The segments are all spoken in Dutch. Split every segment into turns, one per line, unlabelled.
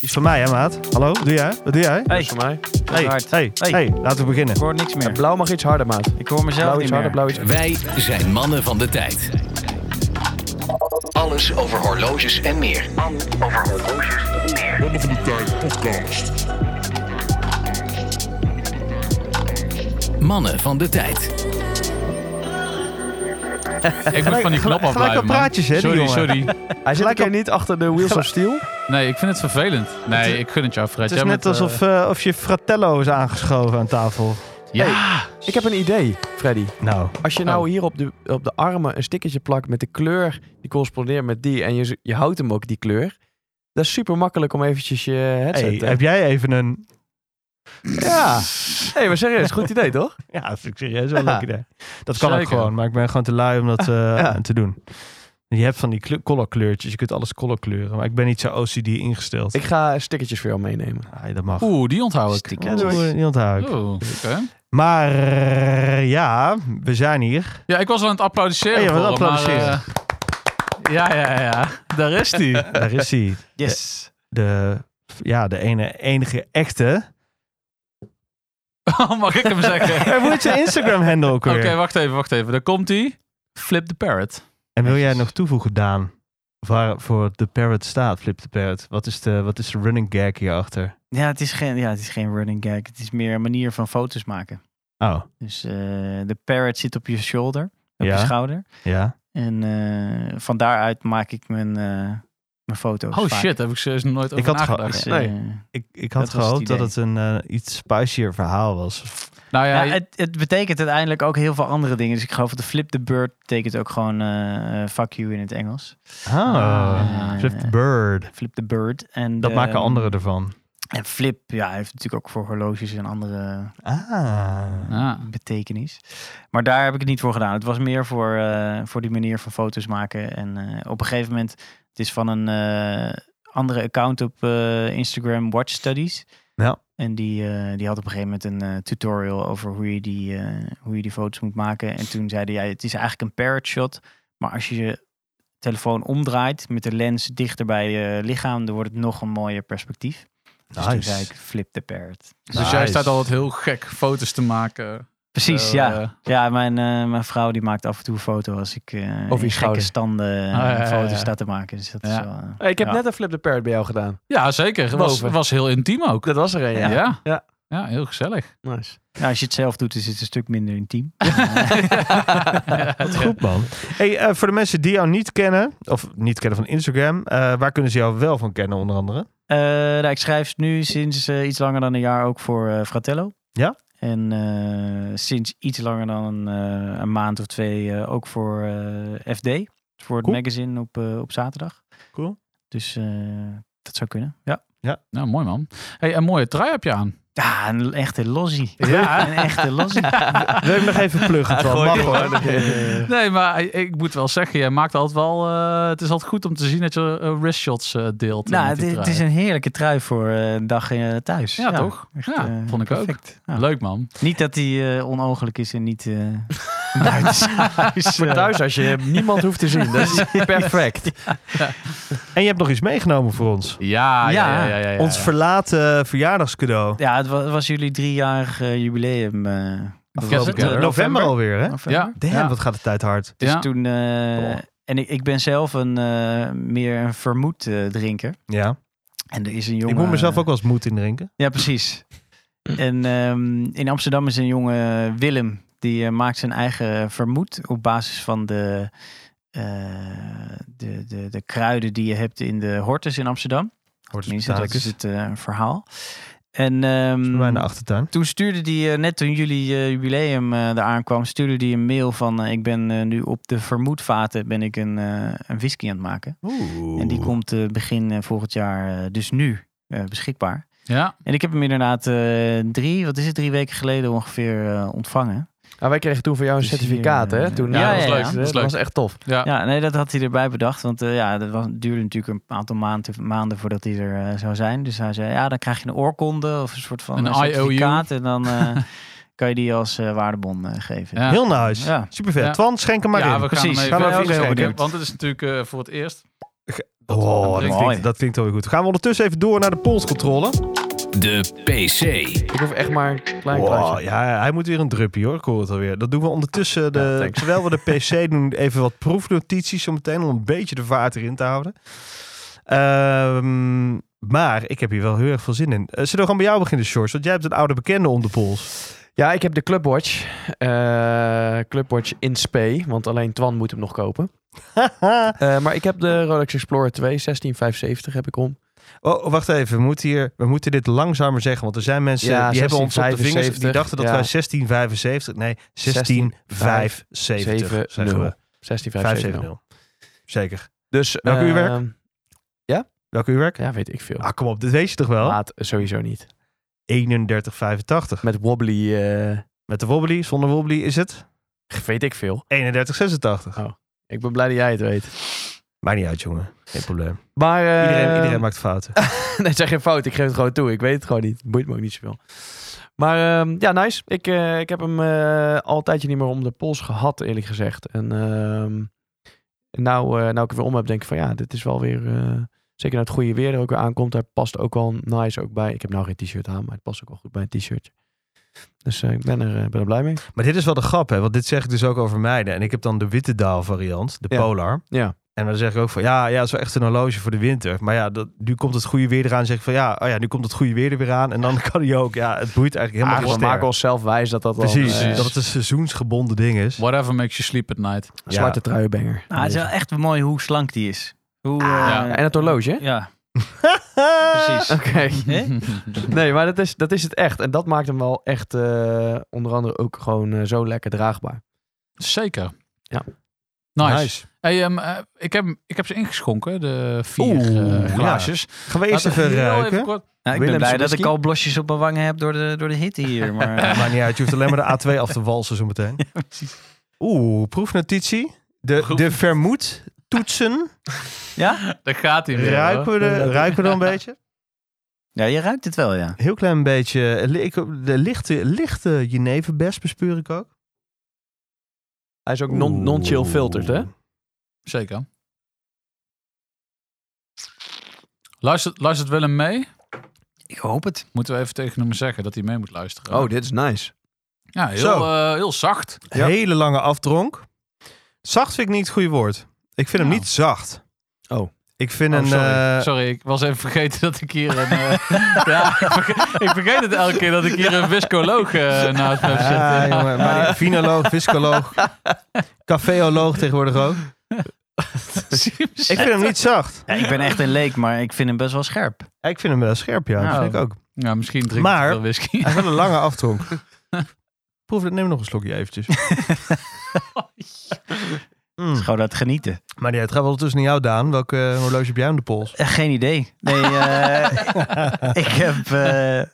Is van mij, hè, maat? Hallo, doe jij? Wat doe jij?
Hey,
Voor mij.
Hey, hey,
hard.
hey,
Hey.
laten we beginnen.
ik hoor niks meer.
Blauw mag iets harder, maat.
Ik hoor
Blauw
mezelf niet
iets
meer.
harder, blauw iets
Wij zijn mannen van de tijd.
Alles over horloges en meer. Over horloges en meer.
Mannen van de tijd.
Ik moet van die knop
gelijk
afblijven,
wat praatjes, hè, die
Sorry,
jongen.
sorry.
Hij zit lekker niet achter de Wheels of Steel.
Nee, ik vind het vervelend. Nee, ik gun het jou, Fred.
Het is
Jij
net
bent, eh,
alsof eh, of je fratello is aangeschoven aan tafel.
ja.
Ik heb een idee, Freddy.
Nou,
Als je nou
Oh.
hier op de, op de armen een stickertje plakt met de kleur die correspondeert met die en je, z- je houdt hem ook die kleur. Dat is super makkelijk om eventjes je headset
hey,
te...
heb jij even een...
Ja. Hé, hey, maar serieus, goed idee toch?
Ja, dat vind ik serieus wel een
Ja.
leuk idee. Dat kan ook
Zeker.
gewoon, maar ik ben gewoon te lui om dat eh,
Ja.
te doen. Je hebt van die kleur- colorkleurtjes, je kunt alles colorkleuren, maar ik ben niet zo OCD ingesteld.
Ik ga stickertjes voor jou meenemen.
Ah, dat mag.
Oeh, die
Oh,
onthoud ik.
Ja, dat wil ik niet onthouden.
Oeh, oké.
Maar ja, we zijn hier.
Ja, ik was al aan het applaudisseren.
Ja, je was aan het
voor hem, maar,
applaudisseren.
eh, ja, ja, ja. Daar is die.
Daar is hij.
Yes.
De, ja, de ene, enige echte
Oh, mag ik hem zeggen?
Er moet zijn Instagram-handle ook
Oké,
weer.
wacht even, wacht even. Daar komt hij. Flip the parrot.
en wil jij nog toevoegen, Daan? Waar voor de parrot staat, Flip the Parrot. Wat is de, wat is de running gag hierachter?
Ja, het is geen, ja, het is geen running gag. Het is meer een manier van foto's maken.
Oh,
Dus eh, de parrot zit op je shoulder, op
Ja.
je schouder.
ja.
En eh, van daaruit maak ik mijn, eh, mijn foto's.
Oh
vaak.
shit, daar heb ik serieus nog nooit
Ik
over
had ge-
nagedacht.
Dus,
Nee.
eh,
Ik, ik had
Dat was het
gehoopt dat
idee.
het een eh, iets spicier verhaal was.
Nou ja,
Ja, het, het betekent uiteindelijk ook heel veel andere dingen. Dus ik geloof dat de flip the bird betekent ook gewoon eh, eh, fuck you in het Engels.
Oh,
Ah.
Flip the Bird.
Flip the bird. En
Dat
de- ehm,
maken anderen ervan.
En flip, ja, heeft natuurlijk ook voor horloges en andere
Ah.
Nou,
ja.
betekenis. Maar daar heb ik het niet voor gedaan. Het was meer voor, eh, voor die manier van foto's maken. En eh, op een gegeven moment, het is van een eh, andere account op eh, Instagram, Watch Studies.
Ja.
En die, eh, die had op een gegeven moment een eh, tutorial over hoe je, die, eh, hoe je die foto's moet maken. En toen zeiden jij, het is eigenlijk een parrot shot. Maar als je je telefoon omdraait met de lens dichter bij je lichaam, dan wordt het nog een mooier perspectief. Dus toen
Nice.
zei ik, flip de parrot.
Dus
Nice.
jij staat altijd heel gek foto's te maken.
Precies,
Zo,
ja.
eh,
Ja, mijn, eh, mijn vrouw die maakt af en toe een foto als ik eh in gekke
schouder.
standen
Ah,
eh,
ja, ja,
foto's
ja.
sta te maken. Dus dat is
Ja.
wel, eh,
Hey, ik heb
Ja.
net een Flip the Parrot bij jou gedaan.
ja, zeker. Het was,
Boven.
was heel intiem ook.
Dat was er een, ja.
Ja. Ja.
Ja.
heel gezellig.
Nice.
nou, als je het zelf doet, is het een stuk minder intiem. Eh,
Wat goed, man. Hey, eh, voor de mensen die jou niet kennen, of niet kennen van Instagram, eh, waar kunnen ze jou wel van kennen, onder andere?
Eh, nou, ik schrijf nu sinds eh, iets langer dan een jaar ook voor eh, Fratello.
Ja.
En eh, sinds iets langer dan eh, een maand of twee eh, ook voor eh, FD. Voor het
Cool.
magazine op, eh, op zaterdag.
Cool.
Dus eh, dat zou kunnen, ja.
Nou, mooi man. Hey, een mooie trui heb je aan.
Ja, een echte lozzie.
Ja.
Een echte lozzie.
Wil je hem nog even pluggen? Het wel
Gooi
mag
die
hoor.
gewoon.
Nee, maar ik- ik moet wel zeggen, jij maakt altijd wel. eh, het is altijd goed om te zien dat je eh, wristshots eh, deelt. eh,
Nou,
met
het,
die
is- het is
trui.
een heerlijke trui voor eh, een dag eh, thuis.
Ja, toch? Ja,
eh,
vond ik ook.
ja.
Leuk man.
Niet dat die eh, onogelijk is en niet eh buiten huis,
Voor
eh.
thuis als je niemand hoeft te zien. Dat is perfect.
En je hebt nog iets meegenomen voor ons.
Ja, ja,
Ja,
ja. ja, ja, ja.
Ons verlaten verjaardagscadeau.
Ja, het wa- het was, jullie driejarig eh, jubileum. eh
Afgelopen
eh,
november.
November alweer, hè?
november.
Ja,
Damn,
ja.
wat gaat de tijd hard.
Dus
Ja.
toen... eh,
Oh.
En ik, ik ben zelf een, eh, meer een vermoed eh, drinker.
Ja.
En er is een jongen...
Ik moet
eh,
mezelf ook wel eens moed indrinken.
Ja, precies. En ehm, in Amsterdam is een jongen, Willem, die eh, maakt zijn eigen vermoed op basis van de, eh, de, de, de kruiden die je hebt in de hortus in Amsterdam.
Hoort het
Tenminste, dat
dadelijk
is
eens.
het eh, verhaal. En
Bij mij in
ehm
de achtertuin.
toen stuurde die, eh, net toen jullie eh, jubileum eh eraan kwam, stuurde die een mail van eh, ik ben eh, nu op de vermoedvaten ben ik een, eh, een whisky aan het maken. En die komt eh, begin eh, volgend jaar, eh, dus nu, eh, beschikbaar.
Ja,
En ik heb hem inderdaad eh, drie, wat is het, drie weken geleden ongeveer eh, ontvangen.
Nou, wij kregen toen voor jou een
Dus die,
certificaat,
eh,
hè? Toen,
ja,
nou, dat was
ja,
leuk.
ja.
hè?
Dat is
Dat
leuk.
was echt tof.
Ja.
Ja, nee, dat had hij erbij bedacht. Want eh, ja, dat was, duurde natuurlijk een aantal maanden, maanden voordat hij er eh, zou zijn. Dus hij zei, ja, dan krijg je een oorkonde of een soort van
Een
eh,
IOU.
certificaat. En dan eh, kan je die als eh, waardebon eh, geven.
Ja.
Heel nice.
Ja.
Super vet.
Ja.
Twan, schenk hem maar
ja,
in.
we gaan
precies.
hem
Gaan
even,
we even
Ja, oké,
inschenken.
oké, Want het is natuurlijk eh, voor het eerst.
Oh, dat
Mooi.
klinkt, dat klinkt wel weer goed. Gaan we ondertussen even door naar de polscontrole.
De PC.
Ik hoef echt maar een klein
Wow,
plaatje.
ja, hij moet weer een druppie hoor, ik hoor het alweer. Dat doen we ondertussen,
Ja,
de,
thanks.
terwijl we de PC doen, even wat proefnotities zometeen om een beetje de vaart erin te houden. Ehm, maar ik heb hier wel heel erg veel zin in. Eh, zullen we gewoon bij jou beginnen, Shorts? Want jij hebt een oude bekende om de pols.
Ja, ik heb de Clubwatch. eh, Clubwatch in spe, want alleen Twan moet hem nog kopen. Eh, maar ik heb de Rolex Explorer 2, 16570 heb ik om.
oh, wacht even. We moeten, hier, we moeten dit langzamer zeggen, want er zijn mensen
Ja,
die hebben ons op de vingers. Die
16,75,
dachten dat
ja.
wij 1675, nee, 1675 zeggen we.
16570.
570. Zeker.
Dus,
Welk
eh,
uurwerk? Welk uurwerk?
Ja, weet ik veel.
Ah, kom op, dit weet je toch wel?
Laat sowieso niet.
31,85.
Met wobbly, eh,
Met de wobbly, zonder wobbly is het
weet ik veel.
31,86.
Ik ben blij dat jij het weet.
Maakt niet uit, jongen. Geen probleem.
Maar, eh,
Iedereen, iedereen maakt fouten.
Nee, het zijn geen fout. Ik geef het gewoon toe. Ik weet het gewoon niet. Boeit me ook niet zoveel. Maar ehm, ja, nice. Ik, eh, ik heb hem eh al een tijdje niet meer om de pols gehad, eerlijk gezegd. En ehm, nou, eh, nou ik er weer om heb, denk ik van ja, dit is wel weer... eh, zeker naar het goede weer er ook weer aankomt. Hij past ook wel nice ook bij. Ik heb nou geen t-shirt aan, maar het past ook wel goed bij een t-shirtje. Dus eh, ik ben er, eh, ben er blij mee.
Maar dit is wel de grap, hè? Want dit zeg ik dus ook over meiden. En ik heb dan de witte daal variant, de
Ja.
Polar.
Ja.
En dan zeg ik ook van ja, ja, het is wel echt een horloge voor de winter. Maar ja, dat, nu komt het goede weer eraan. Zeg ik van ja, oh ja, nu komt het goede weer er weer aan. En dan kan hij ook, ja, het boeit eigenlijk helemaal
Maar
geen
Ah, we maken
ster.
ons zelf wijs dat dat
Precies,
wel, eh,
dat het een seizoensgebonden ding is.
Whatever makes you sleep at night.
een zwarte truienbanger.
Nou, het is wel echt mooi hoe slank die is. Hoe, eh,
ja.
Ja, Ah, en het horloge, hè? Eh,
Ja,
Ja.
precies.
Oké.
Hè?
Nee, maar dat is, dat is het echt. En dat maakt hem wel echt, eh, onder andere ook gewoon eh, zo lekker draagbaar.
Zeker.
Ja.
Nice. Hey, ehm, eh, ik, heb, ik heb ze ingeschonken, de vier
Oeh,
eh, glaasjes.
Gaan we eerst
Laten we
even eh,
heel
ruiken.
even kort-
Nou, ik ben
Willems
blij dat
whisky?
ik al blosjes op mijn wangen heb door de, door de hitte hier. Maar, eh,
Maakt niet uit, je hoeft alleen maar de A2 af te walsen zo meteen. Oeh, proefnotitie. De, de vermoed toetsen.
ja?
Daar gaat hij weer. hoor.
Ruiken we, de,
Inderdaad.
ruiken we dan een beetje?
ja, je ruikt het wel, ja.
Heel klein beetje. eh, li- ik- De lichte, lichte jeneverbes bespeur ik ook.
Hij is ook non- non-chill
Oeh.
filtered, hè?
Zeker. Luistert, luistert Willem mee?
Ik hoop het.
Moeten we even tegen hem zeggen dat hij mee moet luisteren.
Oh, dit is nice.
ja, heel,
Oh, Zo.
eh, heel zacht.
Ja.
Hele lange afdronk. Zacht vind ik niet het goede woord. Ik vind hem
Nou.
niet zacht.
Oh.
Ik vind
Oh,
een...
sorry.
eh,
sorry, ik was even vergeten dat ik hier een... eh, ja, ik verge- ik vergeet het elke keer dat ik hier een wiscoloog eh, naast me heb zitten.
Ja, Ah, jongen, maar die vinoloog, viscoloog, cafeoloog tegenwoordig ook. Ik vind hem niet zacht.
Ja, ik ben echt een leek, maar ik vind hem best wel scherp.
Ik vind hem wel scherp, ja. Dat
Nou.
vind ik ook.
Ja, misschien drink ik
Maar-
wel whisky.
Hij is wel een lange aftronk. Proef het, neem nog een slokje eventjes. Mm.
Hm.
Gewoon dat genieten.
Maar ja, het gaat wel tussen jou, Daan. Welke eh, horloge heb jij om de pols?
Eh, Geen idee. Nee, eh, ik heb. eh, eh,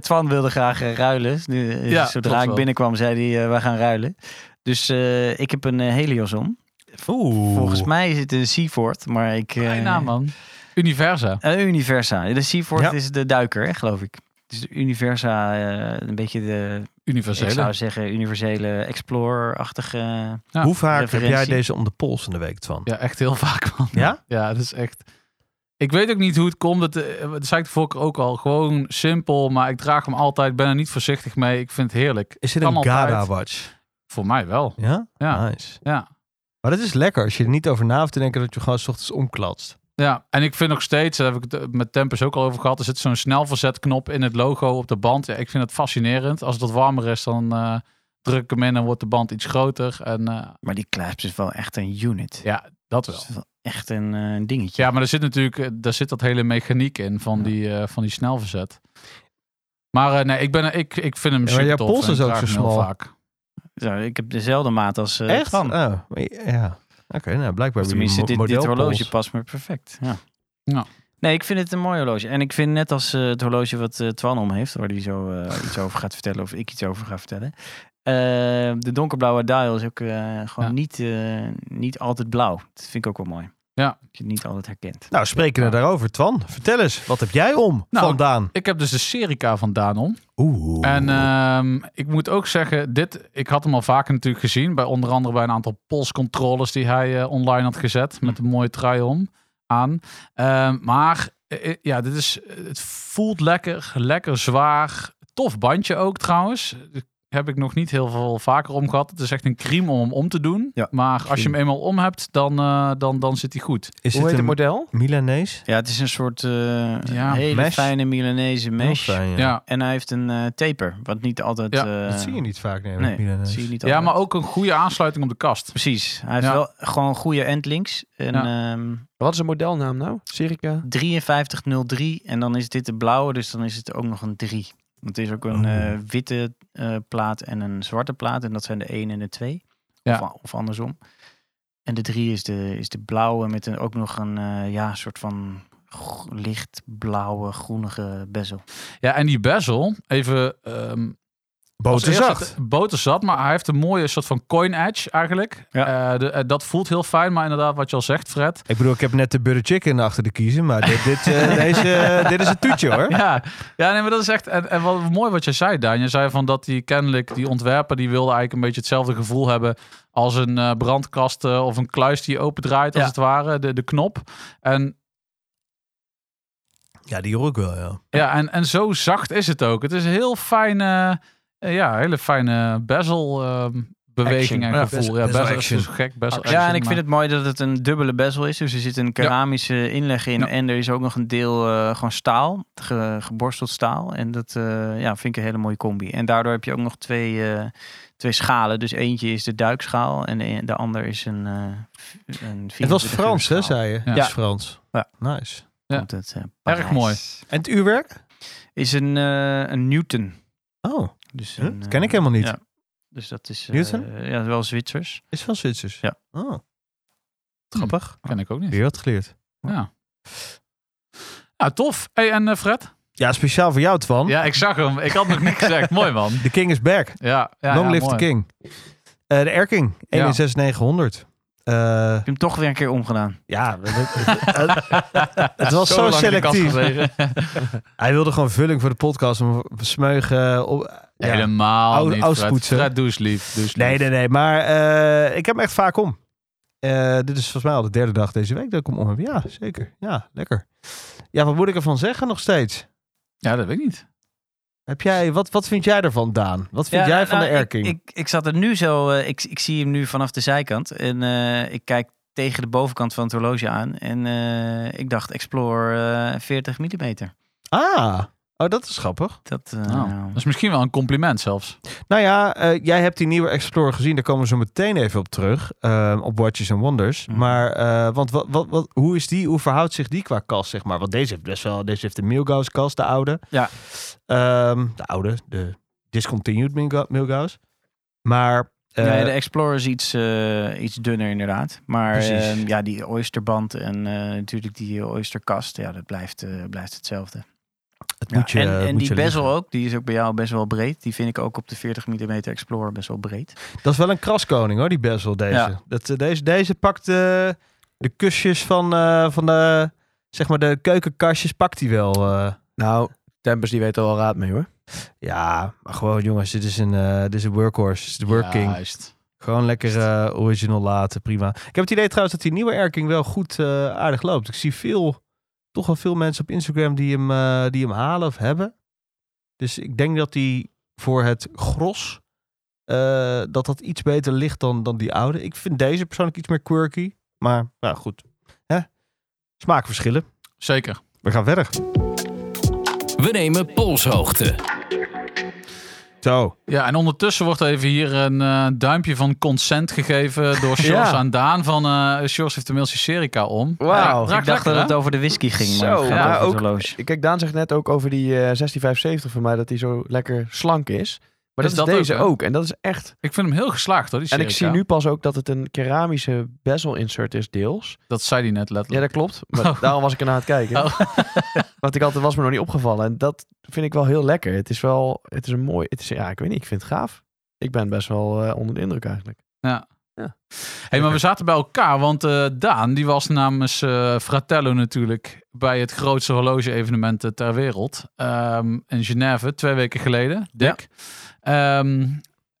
Twan wilde graag eh, ruilen. Nu, eh,
Ja, klopt
zodra ik
wel.
binnenkwam, zei hij: eh, We gaan ruilen. Dus eh, ik heb een eh, Helios om.
Oeh.
Volgens mij is het een Seaford, maar ik. eh,
Bijna, man. Universa.
Een Universa. De Seaford
Ja.
is de duiker, hè, geloof ik. Dus de Universa, eh, een beetje de. Ik zou
Universele.
zeggen, universele explorer-achtige.
Ja,
Hoe vaak heb jij
referentie.
deze om de pols in de week, Twan?
Ja, echt heel vaak, man.
Ja?
Ja, dat is echt... Ik weet ook niet hoe het komt. Dat, eh, dat zei ik de vorige keer ook al. Gewoon simpel, maar ik draag hem altijd. Ben er niet voorzichtig mee. Ik vind het heerlijk.
Is dit
Kan
een
altijd.
Gada-watch?
Voor mij wel.
Ja?
Ja,
Nice.
ja.
Maar dat is lekker als je er niet over na hoeft te denken dat je gewoon 's ochtends omklatst.
Ja, en ik vind nog steeds, daar heb ik het eh, met Tempus ook al over gehad, er zit zo'n snelverzetknop in het logo op de band. Ja, ik vind het fascinerend. Als het wat warmer is, dan eh, druk ik hem in en wordt de band iets groter. En eh,
Maar die Clasp is wel echt een unit.
ja, dat
Dat
wel.
is wel echt een eh, dingetje.
Ja, maar er zit natuurlijk, eh, daar zit dat hele mechaniek in van, die, eh, van die snelverzet. Maar eh, nee, ik, ben, er- ik, ik vind hem
Ja, maar
super
jouw
tof.
pols
en
is
ik
ook
draag
zo
hem heel
smal.
Vaak.
Zo, ik heb dezelfde maat als eh
Echt?
Twan.
Oh, maar ja. Oké, nou blijkbaar hebben jullie
Of tenminste,
mo-
dit, dit
modelpols.
horloge past me perfect. Ja.
Ja.
Nee, ik vind het een mooi horloge. En ik vind net als eh, het horloge wat eh, Twan om heeft, waar hij zo eh, iets over gaat vertellen, of ik iets over ga vertellen. Eh, de donkerblauwe dial is ook eh, gewoon
Ja.
niet, eh, niet altijd blauw. Dat vind ik ook wel mooi.
Ja.
Dat je het niet altijd herkent.
Nou, spreken we daarover. Twan, vertel eens. Wat heb jij om
Nou,
vandaan?
Ik heb dus de Serica van Danon.
Oeh.
En
eh,
ehm, ik moet ook zeggen, dit, ik had hem al vaker natuurlijk gezien. Bij, onder andere bij een aantal polscontroles die hij eh, online had gezet. Met een mooie trui om aan. Ehm, maar eh, ja, dit is, het voelt lekker, lekker zwaar. Tof bandje ook trouwens. Daar Heb ik nog niet heel veel vaker om gehad. Het is echt een crime om hem om te doen.
Ja,
maar als je hem
crime.
eenmaal om hebt, dan, eh, dan, dan zit hij goed.
is dit
Hoe heet
een
het model?
Milanees?
Ja, het is een soort eh,
Ja,
hele
mesh.
fijne Milanese mesh.
Heel fijn,
Ja,
ja.
ja.
En hij heeft een eh, taper, wat niet altijd...
Ja,
eh,
dat zie je niet vaak, nee.
Nee,
nee
dat zie je niet altijd.
maar ook een goede aansluiting op de kast.
Precies. Hij heeft
Ja.
wel gewoon goede endlinks. En, ehm,
Wat is een modelnaam nou? Serica?
5303 en dan is dit de blauwe, dus dan is het ook nog een 3. Want het is ook een
Oh.
eh, witte eh, plaat en een zwarte plaat en dat zijn de 1 en de 2.
Ja.
Of, of andersom. En de 3 is de, is de blauwe met een, ook nog een eh, ja, soort van gro- lichtblauwe, groenige bezel.
Ja, en die bezel, even ehm, Als eerste
Boterzacht.
het- Boterzacht, maar hij heeft een mooie soort van coin edge eigenlijk.
Ja.
Eh, de- eh, dat voelt heel fijn, maar inderdaad wat je al zegt, Fred.
Ik bedoel, ik heb net de butter chicken achter de kiezen, maar dit, dit, eh, deze, eh, dit is een toetje hoor.
Ja, ja nee, maar dat is echt... En, en wat mooi wat je zei, Daan. Je zei van dat die kennelijk, die ontwerper, die wilde eigenlijk een beetje hetzelfde gevoel hebben als een eh, brandkast eh, of een kluis die je opendraait, als
Ja.
het ware, de, de knop. En
Ja, die hoor ik wel, ja.
ja, en, en zo zacht is het ook. Het is een heel fijne, eh, ja, hele fijne bezel... ehm, Beweging
Action. Ja,
en gevoel.
bezel-
ja,
bezel
bezel, is
action.
dus gek. Bezel
Ja, en ik
maar-
vind het mooi dat het een dubbele bezel is. Dus er zit een keramische inleg in.
Ja.
En er is ook nog een deel eh, gewoon staal, ge- geborsteld staal. En dat eh, ja, vind ik een hele mooie combi. En daardoor heb je ook nog twee, eh, twee schalen. Dus eentje is de duikschaal en e-, de, de ander is een, eh een
Het was Frans, hè, zei je?
Ja.
Het is Frans.
Ja. eh,
Nice.
Ja. Erg mooi.
En het uurwerk?
Is een, eh, een Newton.
Oh,
Dus
Huh?
een,
Dat ken
eh,
ik helemaal niet.
ja. Dus dat is eh,
Newton?
ja, wel Zwitsers.
is van Zwitsers.
Ja.
Oh. Grappig.
Ken ik ook niet.
Weer wat geleerd.
Ja. Nou, tof. Hey, en eh, Fred?
Ja, speciaal voor jou, Twan.
Ja, ik zag hem. Ik had nog niet gezegd. mooi man.
The King is back.
Ja, ja,
Long
ja,
live
mooi.
the King. Eh, de Erking,
Ja.
16900. Eh,
Ik heb hem toch weer een keer omgedaan.
ja, we- eh, we- het was zo,
lang in de kast
selectief.
gezeten.
Hij wilde gewoon vulling voor de podcast. Om smeugen. Op, ja.
Helemaal
Oude-
niet,
ouds
Fred.
poetsen.
Fred, doe eens lief. Doe eens lief.
Nee, nee, nee. Maar eh, ik heb hem echt vaak om. Eh, dit is volgens mij al de derde dag deze week dat ik hem om heb. Ja, zeker. Ja, lekker. Ja, wat moet ik ervan zeggen nog steeds?
Ja, dat weet ik niet.
Heb jij, wat, wat vind jij ervan, Daan? Wat vind
Ja,
jij
nou,
van de
nou,
Erking?
Ik, ik, ik zat er nu zo, eh, ik, ik zie hem nu vanaf de zijkant en eh, ik kijk tegen de bovenkant van het horloge aan en eh, ik dacht Explore eh, 40 mm.
Ah, oh, dat is grappig.
Dat, eh,
Nou, dat is misschien wel een compliment zelfs.
Nou ja, eh, jij hebt die nieuwe Explorer gezien. Daar komen we zo meteen even op terug. eh, op Watches and Wonders.
Mhm.
Maar, eh, want wat, wat, wat, hoe is die? Hoe verhoudt zich die qua kast, zeg maar? Want deze heeft best wel... Deze heeft de Milgauss kast, de oude.
Ja.
Ehm, de oude, de discontinued Milga- Milgauss. Maar... eh,
nee, de Explorer is iets, eh, iets dunner inderdaad. Maar
Precies.
eh, ja, die oysterband en eh, natuurlijk die oysterkast, ja, dat blijft, eh, blijft hetzelfde.
het
Ja,
moet je,
en
het
en
moet
die
je
bezel
liggen.
ook, die is ook bij jou best wel breed. Die vind ik ook op de 40 mm Explorer best wel breed.
Dat is wel een kraskoning, hoor, die bezel, deze.
Ja.
Dat, eh, deze, deze pakt eh, de kusjes van, eh, van de... Zeg maar, de keukenkastjes pakt hij wel... eh.
Nou, Tempers die weten er wel raad mee hoor.
Ja, maar gewoon jongens, dit is een, eh, dit is een workhorse, dit is de working.
Juist.
Gewoon lekker eh, original laten, prima. Ik heb het idee trouwens dat die nieuwe Erking wel goed eh, aardig loopt. Ik zie veel, toch wel veel mensen op Instagram die hem, eh, die hem halen of hebben. Dus ik denk dat die voor het gros, eh, dat dat iets beter ligt dan, dan die oude. Ik vind deze persoonlijk iets meer quirky, maar nou goed. Hè? Smaakverschillen.
Zeker.
We gaan verder.
We nemen polshoogte.
Zo.
Ja, en ondertussen wordt even hier een eh, duimpje van consent gegeven door Sjors
Ja.
aan Daan. Van eh Sjors heeft inmiddels je Serica om.
Wauw.
Ja,
ik dacht dat het over de whisky ging, maar
Zo,
het gaat
ja,
over het
ook-
horloge.
Kijk, Daan zegt net ook over die eh 16570 van mij dat hij zo lekker slank is. Maar
Is
dat is
dat
deze
ook, hè?
ook. En dat is echt
Ik vind hem heel geslaagd hoor, die
En ik
Serica.
zie nu pas ook dat het een keramische bezel insert is, deels.
Dat zei hij net
Ja,
letterlijk.
dat klopt. Maar
Oh.
daarom was ik ernaar aan het kijken.
Oh.
Want ik had, het was me nog niet opgevallen. En dat vind ik wel heel lekker. Het is wel, het is een mooi, het is, ja, ik weet niet, ik vind het gaaf. ik ben best wel eh, onder de indruk eigenlijk.
Hey, maar we zaten bij elkaar, want eh, Daan die was namens eh, Fratello natuurlijk bij het grootste horloge-evenement eh, ter wereld ehm, in Genève twee weken geleden, Dick. Ehm,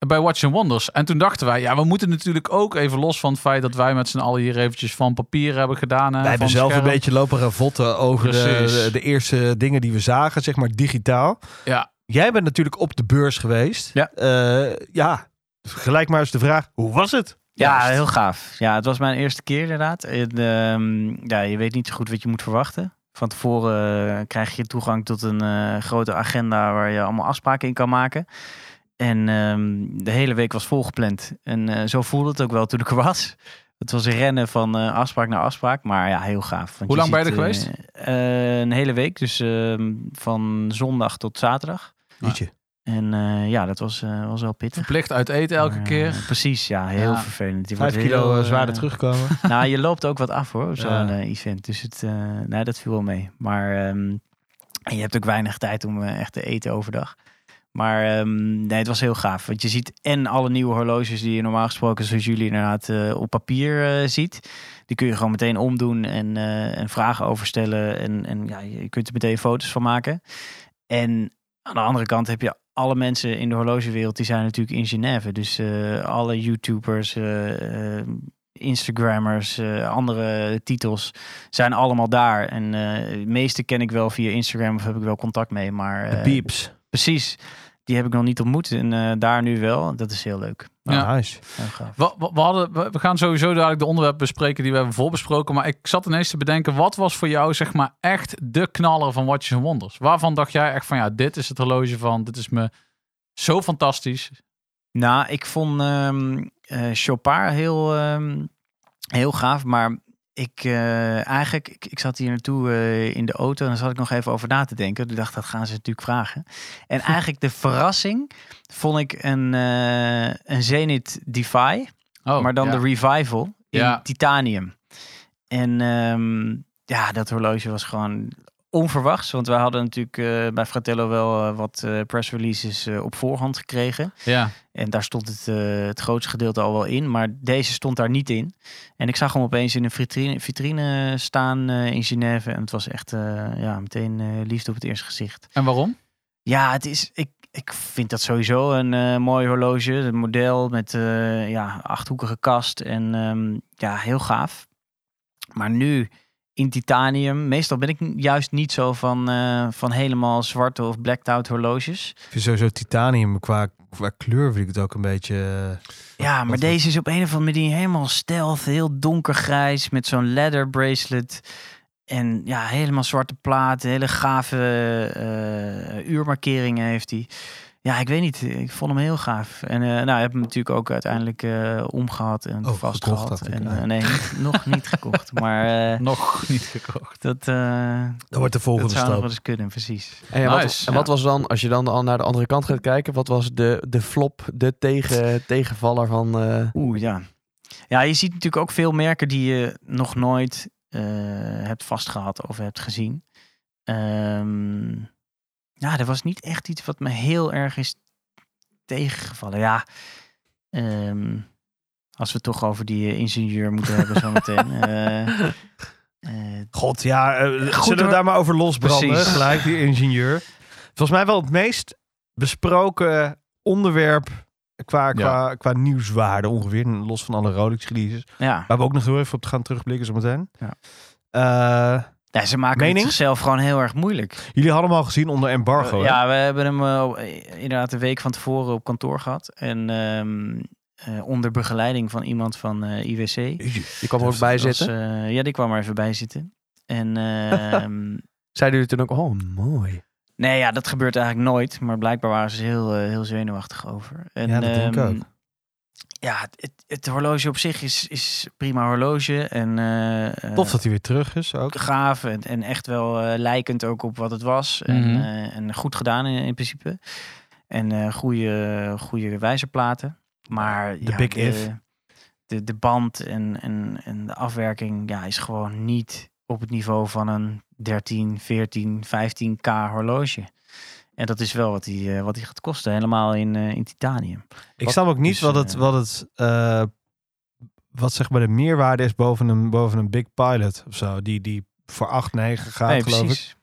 bij Watch and Wonders. En toen dachten wij, ja, we moeten natuurlijk ook even los van het feit dat wij met z'n allen hier eventjes van papier hebben gedaan. eh,
Wij hebben
van
zelf een
scherm.
beetje lopen gaan votten over de,
Precies.
de, de eerste dingen die we zagen, zeg maar digitaal.
Ja.
Jij bent natuurlijk op de beurs geweest.
Ja.
Eh, ja. Gelijk maar eens de vraag, hoe was het?
Ja,
Juist.
heel gaaf. Ja, het was mijn eerste keer inderdaad. En, ehm, ja, je weet niet zo goed wat je moet verwachten. Van tevoren eh, krijg je toegang tot een eh, grote agenda waar je allemaal afspraken in kan maken. En ehm, de hele week was volgepland. En eh, zo voelde het ook wel toen ik er was. Het was een rennen van eh, afspraak naar afspraak. Maar ja, heel gaaf. Want
Hoe lang
ziet,
ben je er
eh,
geweest?
eh, een hele week. Dus ehm, van zondag tot zaterdag.
Liedje.
En eh, ja, dat was, eh, was wel pittig.
verplicht uit eten elke
Maar, eh,
keer.
Precies, ja. Heel
Ja.
vervelend. Je
Vijf
wordt
kilo
heel,
eh,
eh,
zwaarder terugkomen.
nou, je loopt ook wat af hoor, op zo'n
Ja.
eh, event. Dus het, eh, nee, dat viel wel mee. Maar ehm, en je hebt ook weinig tijd om eh, echt te eten overdag. Maar ehm, nee, het was heel gaaf. Want je ziet en alle nieuwe horloges die je normaal gesproken, zoals jullie inderdaad, eh, op papier eh, ziet. Die kun je gewoon meteen omdoen en, eh, en vragen overstellen. En, en ja, je kunt er meteen foto's van maken. En aan de andere kant heb je alle mensen in de horlogewereld, die zijn natuurlijk in Genève. Dus eh, alle YouTubers, eh, eh, Instagrammers, eh, andere titels zijn allemaal daar. En eh, de meeste ken ik wel via Instagram of heb ik wel contact mee. Maar
De
eh,
pieps.
precies, die heb ik nog niet ontmoet. En eh, daar nu wel. Dat is heel leuk.
Ja.
Ah, nice.
Heel gaaf.
We, we, we hadden, we, we gaan sowieso dadelijk de onderwerpen bespreken die we hebben voorbesproken. Maar ik zat ineens te bedenken, wat was voor jou zeg maar echt de knaller van Watches and Wonders? Waarvan dacht jij echt van, ja, dit is het horloge van, dit is me zo fantastisch.
Nou, ik vond ehm eh, Chopard heel, ehm, heel gaaf. Maar ik eh, eigenlijk, ik, ik zat hier naartoe eh, in de auto en daar zat ik nog even over na te denken. Ik dacht, dat gaan ze natuurlijk vragen. En eigenlijk de verrassing vond ik een, eh, een Zenith Defy.
Oh,
maar dan
ja.
de revival in
Ja.
titanium. En ehm, ja, dat horloge was gewoon onverwachts. Want wij hadden natuurlijk eh, bij Fratello wel eh, wat eh, press releases eh, op voorhand gekregen.
Ja,
En daar stond het, eh, het grootste gedeelte al wel in. Maar deze stond daar niet in. En ik zag hem opeens in een vitrine, vitrine staan eh, in Genève. En het was echt eh, ja, meteen eh, liefde op het eerste gezicht.
en waarom?
Ja, het is, ik, ik vind dat sowieso een eh, mooi horloge. Het model met eh, ja, achthoekige kast en ehm, ja, heel gaaf. Maar nu in titanium, meestal ben ik n- juist niet zo van, eh, van helemaal zwarte of blacked out horloges.
Ik vind sowieso titanium qua, qua kleur vind ik het ook een beetje... eh,
Ja, maar
wat-
deze is op een of andere manier helemaal stealth, heel donkergrijs met zo'n leather bracelet. En ja, helemaal zwarte platen, hele gave eh, uurmarkeringen heeft hij. Ja, ik weet niet. Ik vond hem heel gaaf. En eh, nou, ik heb hem natuurlijk ook uiteindelijk eh, omgehad en
Oh, gekocht
vastgehad.
dacht ik,
En,
ja.
eh, nee, niet- nog niet gekocht. Maar eh,
Nog niet gekocht.
dat, eh
Dat wordt de
dat
volgende
zou nog
stap.
wel eens kunnen, precies.
En, ja,
Nice,
wat, en
ja.
wat was dan, als je dan al naar de andere kant gaat kijken, wat was de, de flop, de tegen, tegenvaller van... eh,
Oeh, ja. Ja, je ziet natuurlijk ook veel merken die je nog nooit eh, hebt vastgehad of hebt gezien. Ehm, ja, er was niet echt iets wat me heel erg is tegengevallen. Ja, ehm, als we het toch over die eh, ingenieur moeten hebben zometeen. Eh, eh,
God, ja, eh, zullen
hoor.
we daar maar over losbranden?
Precies.
Gelijk, die ingenieur. Volgens mij wel het meest besproken onderwerp qua, qua, qua nieuwswaarde ongeveer. Los van alle Rolex releases.
ja.
Waar we ook nog heel even op gaan terugblikken zometeen.
Ja.
Eh,
ja, ze maken
Mening?
het zichzelf gewoon heel erg moeilijk.
jullie hadden hem al gezien onder embargo. hè?
Ja, we hebben hem eh, op- eh, inderdaad de week van tevoren op kantoor gehad. En ehm, eh, onder begeleiding van iemand van eh, IWC.
je kwam er ook bij
Dat was,
zitten.
eh, ja, die kwam er even bij zitten. En ehm,
Zeiden jullie toen ook, oh mooi.
nee, ja, dat gebeurt eigenlijk nooit. Maar blijkbaar waren ze heel, eh, heel zenuwachtig over. En,
Ja, dat denk ik
ehm,
ook.
Ja, het, het, het horloge op zich is, is prima horloge. En, eh, eh,
Tof dat hij weer terug is ook.
gaaf en, en echt wel eh, lijkend ook op wat het was. En,
Mhm.
eh, en goed gedaan in, in principe. En eh goede, goede wijzerplaten. Maar
De big if.
De, de band en, en, en de afwerking ja, is gewoon niet op het niveau van een 13, 14, 15k horloge. En dat is wel wat die, eh, wat die gaat kosten. Helemaal in, eh, in titanium.
Ik
Wat-
snap ook niet
dus,
wat het,
eh,
wat het, eh, wat zeg maar de meerwaarde is boven een, boven een Big Pilot of zo. Die, die voor 8, 9 gaat,
nee,
geloof ik.
precies.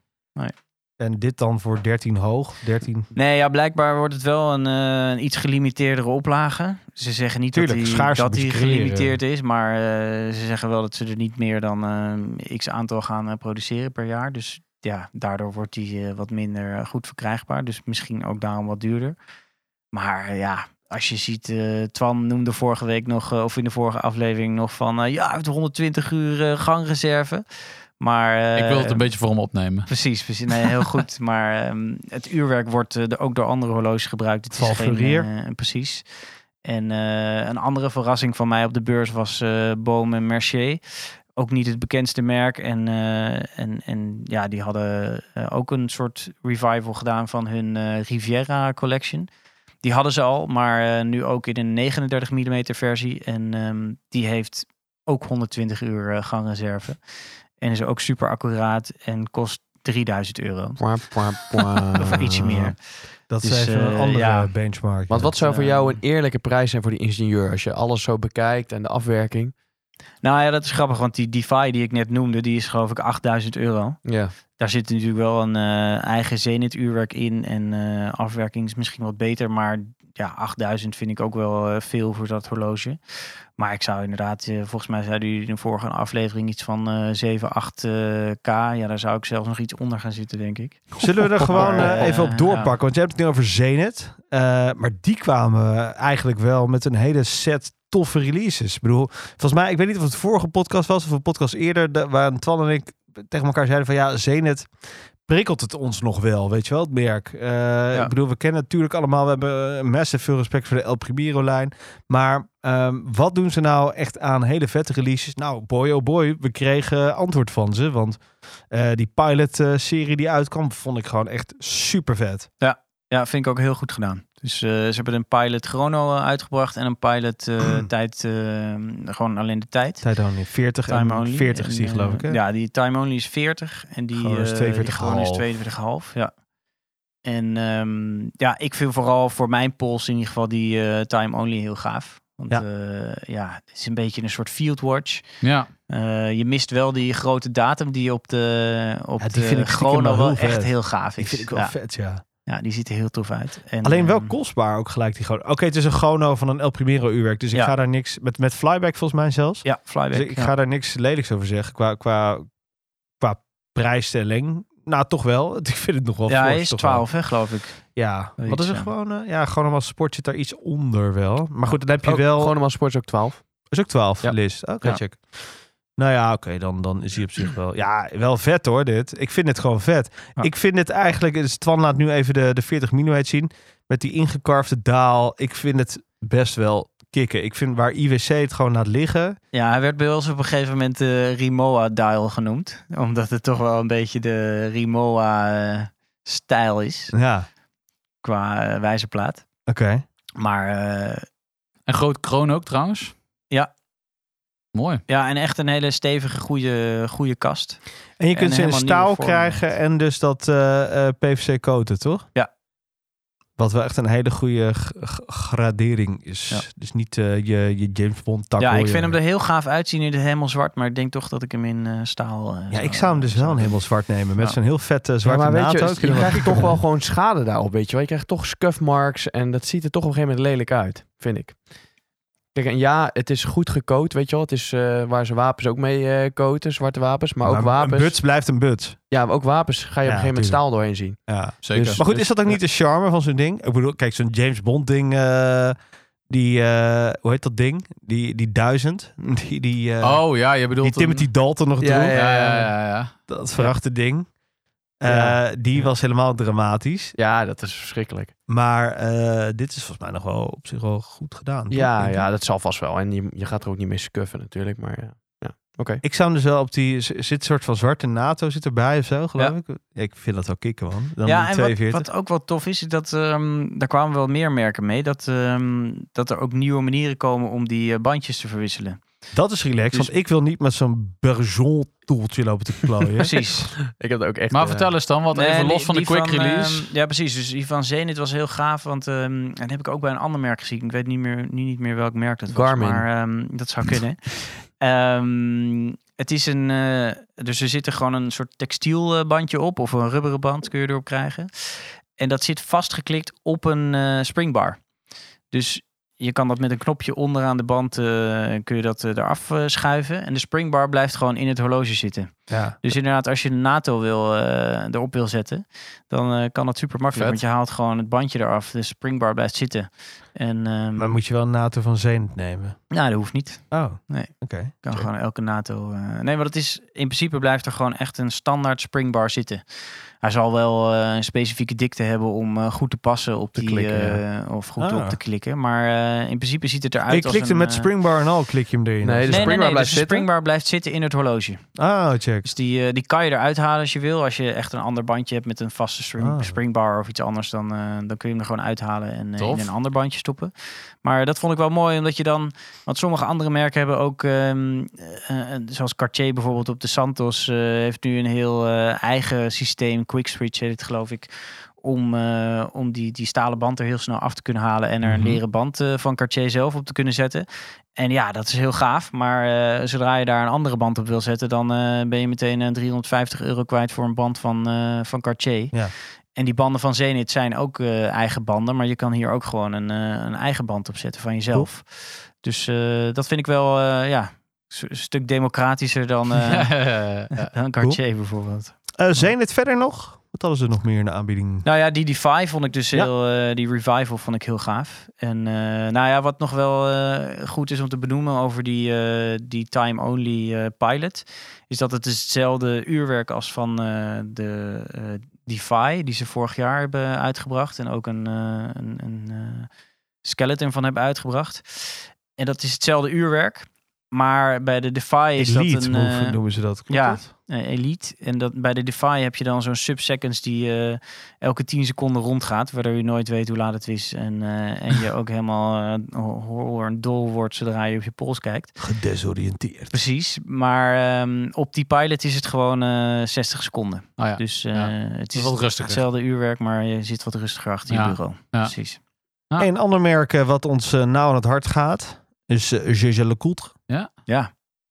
En dit dan voor 13 hoog. 13.
Nee, ja, blijkbaar wordt het wel een, eh, een iets gelimiteerdere oplage. Ze zeggen niet
Tuurlijk,
dat die,
schaarste
dat
moet je
die
creëren.
gelimiteerd is, maar eh, ze zeggen wel dat ze er niet meer dan eh, x aantal gaan eh, produceren per jaar. Dus ja, daardoor wordt die eh, wat minder eh, goed verkrijgbaar. Dus misschien ook daarom wat duurder. Maar eh, ja, als je ziet, eh, Twan noemde vorige week nog, eh, of in de vorige aflevering nog van, eh, ja, het 120 uur eh, gangreserve. Maar,
ik wil het
eh,
een beetje voor hem opnemen.
Precies, precies. Nee, heel goed. Maar ehm, het uurwerk wordt eh, er ook door andere horloges gebruikt. Het
Val
is geen,
Ferrier.
eh, precies. En eh, een andere verrassing van mij op de beurs was eh Boom en Mercier. Ook niet het bekendste merk. En, eh, en, en ja, die hadden eh, ook een soort revival gedaan van hun eh, Riviera collection. Die hadden ze al, maar eh, nu ook in een 39 mm versie. En ehm, die heeft ook 120 uur eh, gangreserve. En is ook super accuraat en kost 3000 euro. Of ietsje meer.
Dat
Dus,
is even een
eh,
andere
ja.
benchmark.
Want
ja.
wat zou voor
eh,
jou een eerlijke prijs zijn voor die ingenieur? Als je alles zo bekijkt en de afwerking.
Nou ja, dat is grappig, want die DeFi die ik net noemde, die is geloof ik 8000 euro.
Ja.
Daar zit natuurlijk wel een eh, eigen Zenit uurwerk in en eh, afwerking is misschien wat beter, maar ja, 8000 vind ik ook wel eh, veel voor dat horloge. Maar ik zou inderdaad, eh, volgens mij zeiden jullie in de vorige aflevering iets van eh 7, 8 k. Ja, daar zou ik zelfs nog iets onder gaan zitten, denk ik.
Zullen we er gewoon
Maar,
eh, even
eh,
op doorpakken? Want je hebt het nu over Zenit. Eh, maar die kwamen eigenlijk wel met een hele set toffe releases. Ik bedoel, volgens mij, ik weet niet of het vorige podcast was of een podcast eerder, da- waarin Twan en ik tegen elkaar zeiden van ja, Zenit prikkelt het ons nog wel, weet je wel, het merk. Eh, Ik bedoel, we kennen natuurlijk allemaal, we hebben eh, massive veel respect voor de El Primero-lijn. Maar ehm, wat doen ze nou echt aan hele vette releases? Nou, boy oh boy, we kregen antwoord van ze, want eh, die pilot-serie die uitkwam, vond ik gewoon echt super vet.
Ja, vind ik ook heel goed gedaan. Dus eh, ze hebben een pilot chrono eh, uitgebracht en een pilot eh, tijd, eh, gewoon alleen de tijd.
Tijd only. 40
Time
en
only.
40
En,
is die,
eh,
geloof ik. Hè?
Ja, die time only is 40 en die
Gewoon is 42,5.
eh, die gewoon is 42,5. Ja. En ehm, ja, ik vind vooral voor mijn pols in ieder geval die eh, time only heel gaaf. Want
Ja.
ja. ja, het is een beetje een soort field watch.
Ja,
Eh, je mist wel die grote datum die op de, op
Ja, die
de
vind ik stiekem
chrono
wel
wel
heel vet.
echt heel gaaf
die
is.
vind ik wel
ja.
vet, ja.
ja, die ziet er heel tof uit. En,
Alleen wel
ehm,
kostbaar ook gelijk die gewoon. Oké, het is een chrono van een El Primero uurwerk, dus ik
Ja.
ga daar niks... Met, met flyback volgens mij zelfs.
Ja, flyback.
Dus ik
ja.
ga daar niks lelijks over zeggen qua, qua, qua prijsstelling. Nou, toch wel. Ik vind het nog wel
Ja,
fors,
hij is
toch wel.
12, hè, geloof ik.
Ja,
Zoiets,
wat is er
ja.
gewoon? eh, ja, gewoon als sport zit daar iets onder wel. Maar goed, dan heb je
Ook,
wel...
Gewoon normaal sport is ook 12.
Is ook 12,
Ja.
Liz. Oké,
Ja.
check. Nou ja, oké, dan, dan is hij op zich wel... Ja, wel vet hoor, dit. Ik vind het gewoon vet.
Ja.
Ik vind het eigenlijk... Dus Twan laat nu even de, de 40 mm zien. Met die ingekarfde daal. Ik vind het best wel kicken. Ik vind waar IWC het gewoon laat liggen...
Ja, hij werd bij ons op een gegeven moment eh Rimowa Dial genoemd. Omdat het toch wel een beetje de Rimowa eh, stijl is
Ja,
qua eh, wijzerplaat.
oké.
Maar eh,
en groot kroon ook trouwens.
Ja.
Mooi.
ja, en echt een hele stevige, goede, goede kast.
En je kunt
En
ze in
helemaal nieuwe
staal
vormen.
krijgen en dus dat eh, eh, PVC coaten, toch?
Ja.
Wat wel echt een hele goede g- g- gradering is.
Ja.
Dus niet eh, je, je James Bond tak.
ja,
hoor
ik
je.
vind hem er heel gaaf uitzien in het helemaal zwart. Maar ik denk toch dat ik hem in eh, staal... eh,
Ja,
zou-
ik zou hem dus wel een helemaal zwart nemen. Met
Ja.
zo'n heel vette zwarte
maar weet
naad
je,
ook.
je, krijgt toch wel gewoon schade daarop, weet je wel. Je krijgt toch scuff marks en dat ziet er toch op een gegeven moment lelijk uit, vind ik. Kijk, en ja, het is goed gecoat, weet je wel. Het is eh, waar ze wapens ook mee eh coaten, zwarte wapens. Maar ook
Een
wapens...
buts blijft een buts.
Ja, maar ook wapens ga je
Ja,
op een gegeven moment
tuurlijk.
staal doorheen zien.
Ja.
Zeker.
Dus-
Maar goed, is dat ook niet de charme van zo'n ding? Ik bedoel, kijk, zo'n James Bond ding... eh, die, eh, hoe heet dat ding? Die, die duizend. Die, die, eh,
oh ja, je bedoelt...
die
een-
Timothy Dalton nog
Ja,
droeg.
Ja, ja, ja. ja, ja.
Dat verachte ding. Eh,
Ja.
Die was helemaal dramatisch.
Ja, dat is verschrikkelijk.
Maar eh, dit is volgens mij nog wel op zich wel goed gedaan. toch?
Ja,
Denk ik.
ja, dat zal vast wel. En je, je gaat er ook niet mee scuffen natuurlijk, maar ja. ja. Oké.
Ik zou hem dus wel op die... z- Zit een soort van zwarte NATO zit erbij of zo, geloof
Ja.
ik. Ik vind dat wel kicken, man. Dan
ja,
die
en
42.
wat, wat ook wel tof is, is dat ehm, daar kwamen wel meer merken mee. Dat, ehm, dat er ook nieuwe manieren komen om die eh, bandjes te verwisselen.
Dat is relaxed,
Dus-
want ik wil niet met zo'n Bergeon-toeltje lopen te klooien.
Precies.
Ik heb er ook echt...
Maar
eh,
vertel eens dan, wat
Nee,
even
die-
los van de
die
quick release.
ehm, ja, precies. Dus die van Zenit was heel gaaf. Want ehm, en dat heb ik ook bij een ander merk gezien. Ik weet niet meer, nu niet meer welk merk dat was.
Garmin.
Maar ehm, dat zou kunnen. Ehm, het is een... eh, dus er zit er gewoon een soort textielbandje op. Of een rubberen band kun je erop krijgen. En dat zit vastgeklikt op een eh, springbar. Dus je kan dat met een knopje onderaan de band... eh, kun je dat eh, eraf eh, schuiven. En de springbar blijft gewoon in het horloge zitten.
ja.
Dus inderdaad, als je een NATO wil, eh, erop wil zetten, dan eh, kan dat super makkelijk.
Vet.
Want je haalt gewoon het bandje eraf. De springbar blijft zitten. En ehm,
Maar moet je wel een NATO van Zenit nemen?
nou, dat hoeft niet.
Oh,
Nee.
Oké.
Kan gewoon elke NATO. eh, nee, maar dat is in principe blijft er gewoon echt een standaard springbar zitten. Hij zal wel eh, een specifieke dikte hebben om eh, goed te passen op
Te
die
klikken,
eh, of goed
Ah.
op te klikken. Maar eh, in principe ziet het eruit.
Ik
als
klikte
een,
met
eh,
Springbar en al klik je hem erin.
Nee,
Nee,
dus-
nee, nee,
springbar
dus
blijft
de
zitten?
springbar blijft zitten in het horloge.
Oh, check.
Dus die, eh, die kan je eruit halen als je wil. Als je echt een ander bandje hebt met een vaste spring-
Ah.
springbar of iets anders, dan, eh, dan kun je hem er gewoon uithalen en eh,
Tof.
in een ander bandje stoppen. Maar dat vond ik wel mooi, omdat je dan, want sommige andere merken hebben ook, ehm, eh, eh, zoals Cartier bijvoorbeeld op de Santos, eh, heeft nu een heel eh, eigen systeem, quick switch heet het geloof ik. Om, eh, om die, die stalen band er heel snel af te kunnen halen en er een
Mhm.
leren band eh, van Cartier zelf op te kunnen zetten. En ja, dat is heel gaaf. Maar eh, zodra je daar een andere band op wil zetten, dan eh, ben je meteen eh, 350 euro kwijt voor een band van, eh, van Cartier.
Ja.
En die banden van Zenit zijn ook eh, eigen banden, maar je kan hier ook gewoon een, eh, een eigen band opzetten van jezelf. Dus eh, dat vind ik wel eh, ja, s- een stuk democratischer dan, eh dan Cartier bijvoorbeeld.
Eh, Zenit verder nog? Wat hadden ze nog meer in de aanbieding?
Nou ja, die Defy vond ik dus
Mm. Ja.
heel, eh, die revival vond ik heel gaaf. En eh, nou ja, wat nog wel eh, goed is om te benoemen over die, eh, die time-only eh, pilot, is dat het is hetzelfde uurwerk als van eh, de eh Defy, die ze vorig jaar hebben uitgebracht en ook een, eh, een, een eh, skeleton van hebben uitgebracht. En dat is hetzelfde uurwerk, maar bij de Defy is dat
Elite
een...
move
eh,
noemen ze dat. Klopt
ja.
dat?
eh, Elite. En dat, bij de Defy heb je dan zo'n subseconds die eh, elke 10 seconden rondgaat, waardoor je nooit weet hoe laat het is. En, eh, en je ook helemaal eh, ho- hoor en dol wordt zodra je op je pols kijkt.
Gedesoriënteerd.
Precies, maar ehm, op die pilot is het gewoon eh, 60 seconden.
Oh ja,
Dus eh,
ja.
het
dat is
is
wat rustiger.
hetzelfde uurwerk, maar je zit wat rustiger achter
Ja.
je bureau.
Ja.
Precies.
Ja.
Een ander merk eh, wat ons eh, nauw aan het hart gaat is eh, Gégé Lecoultre.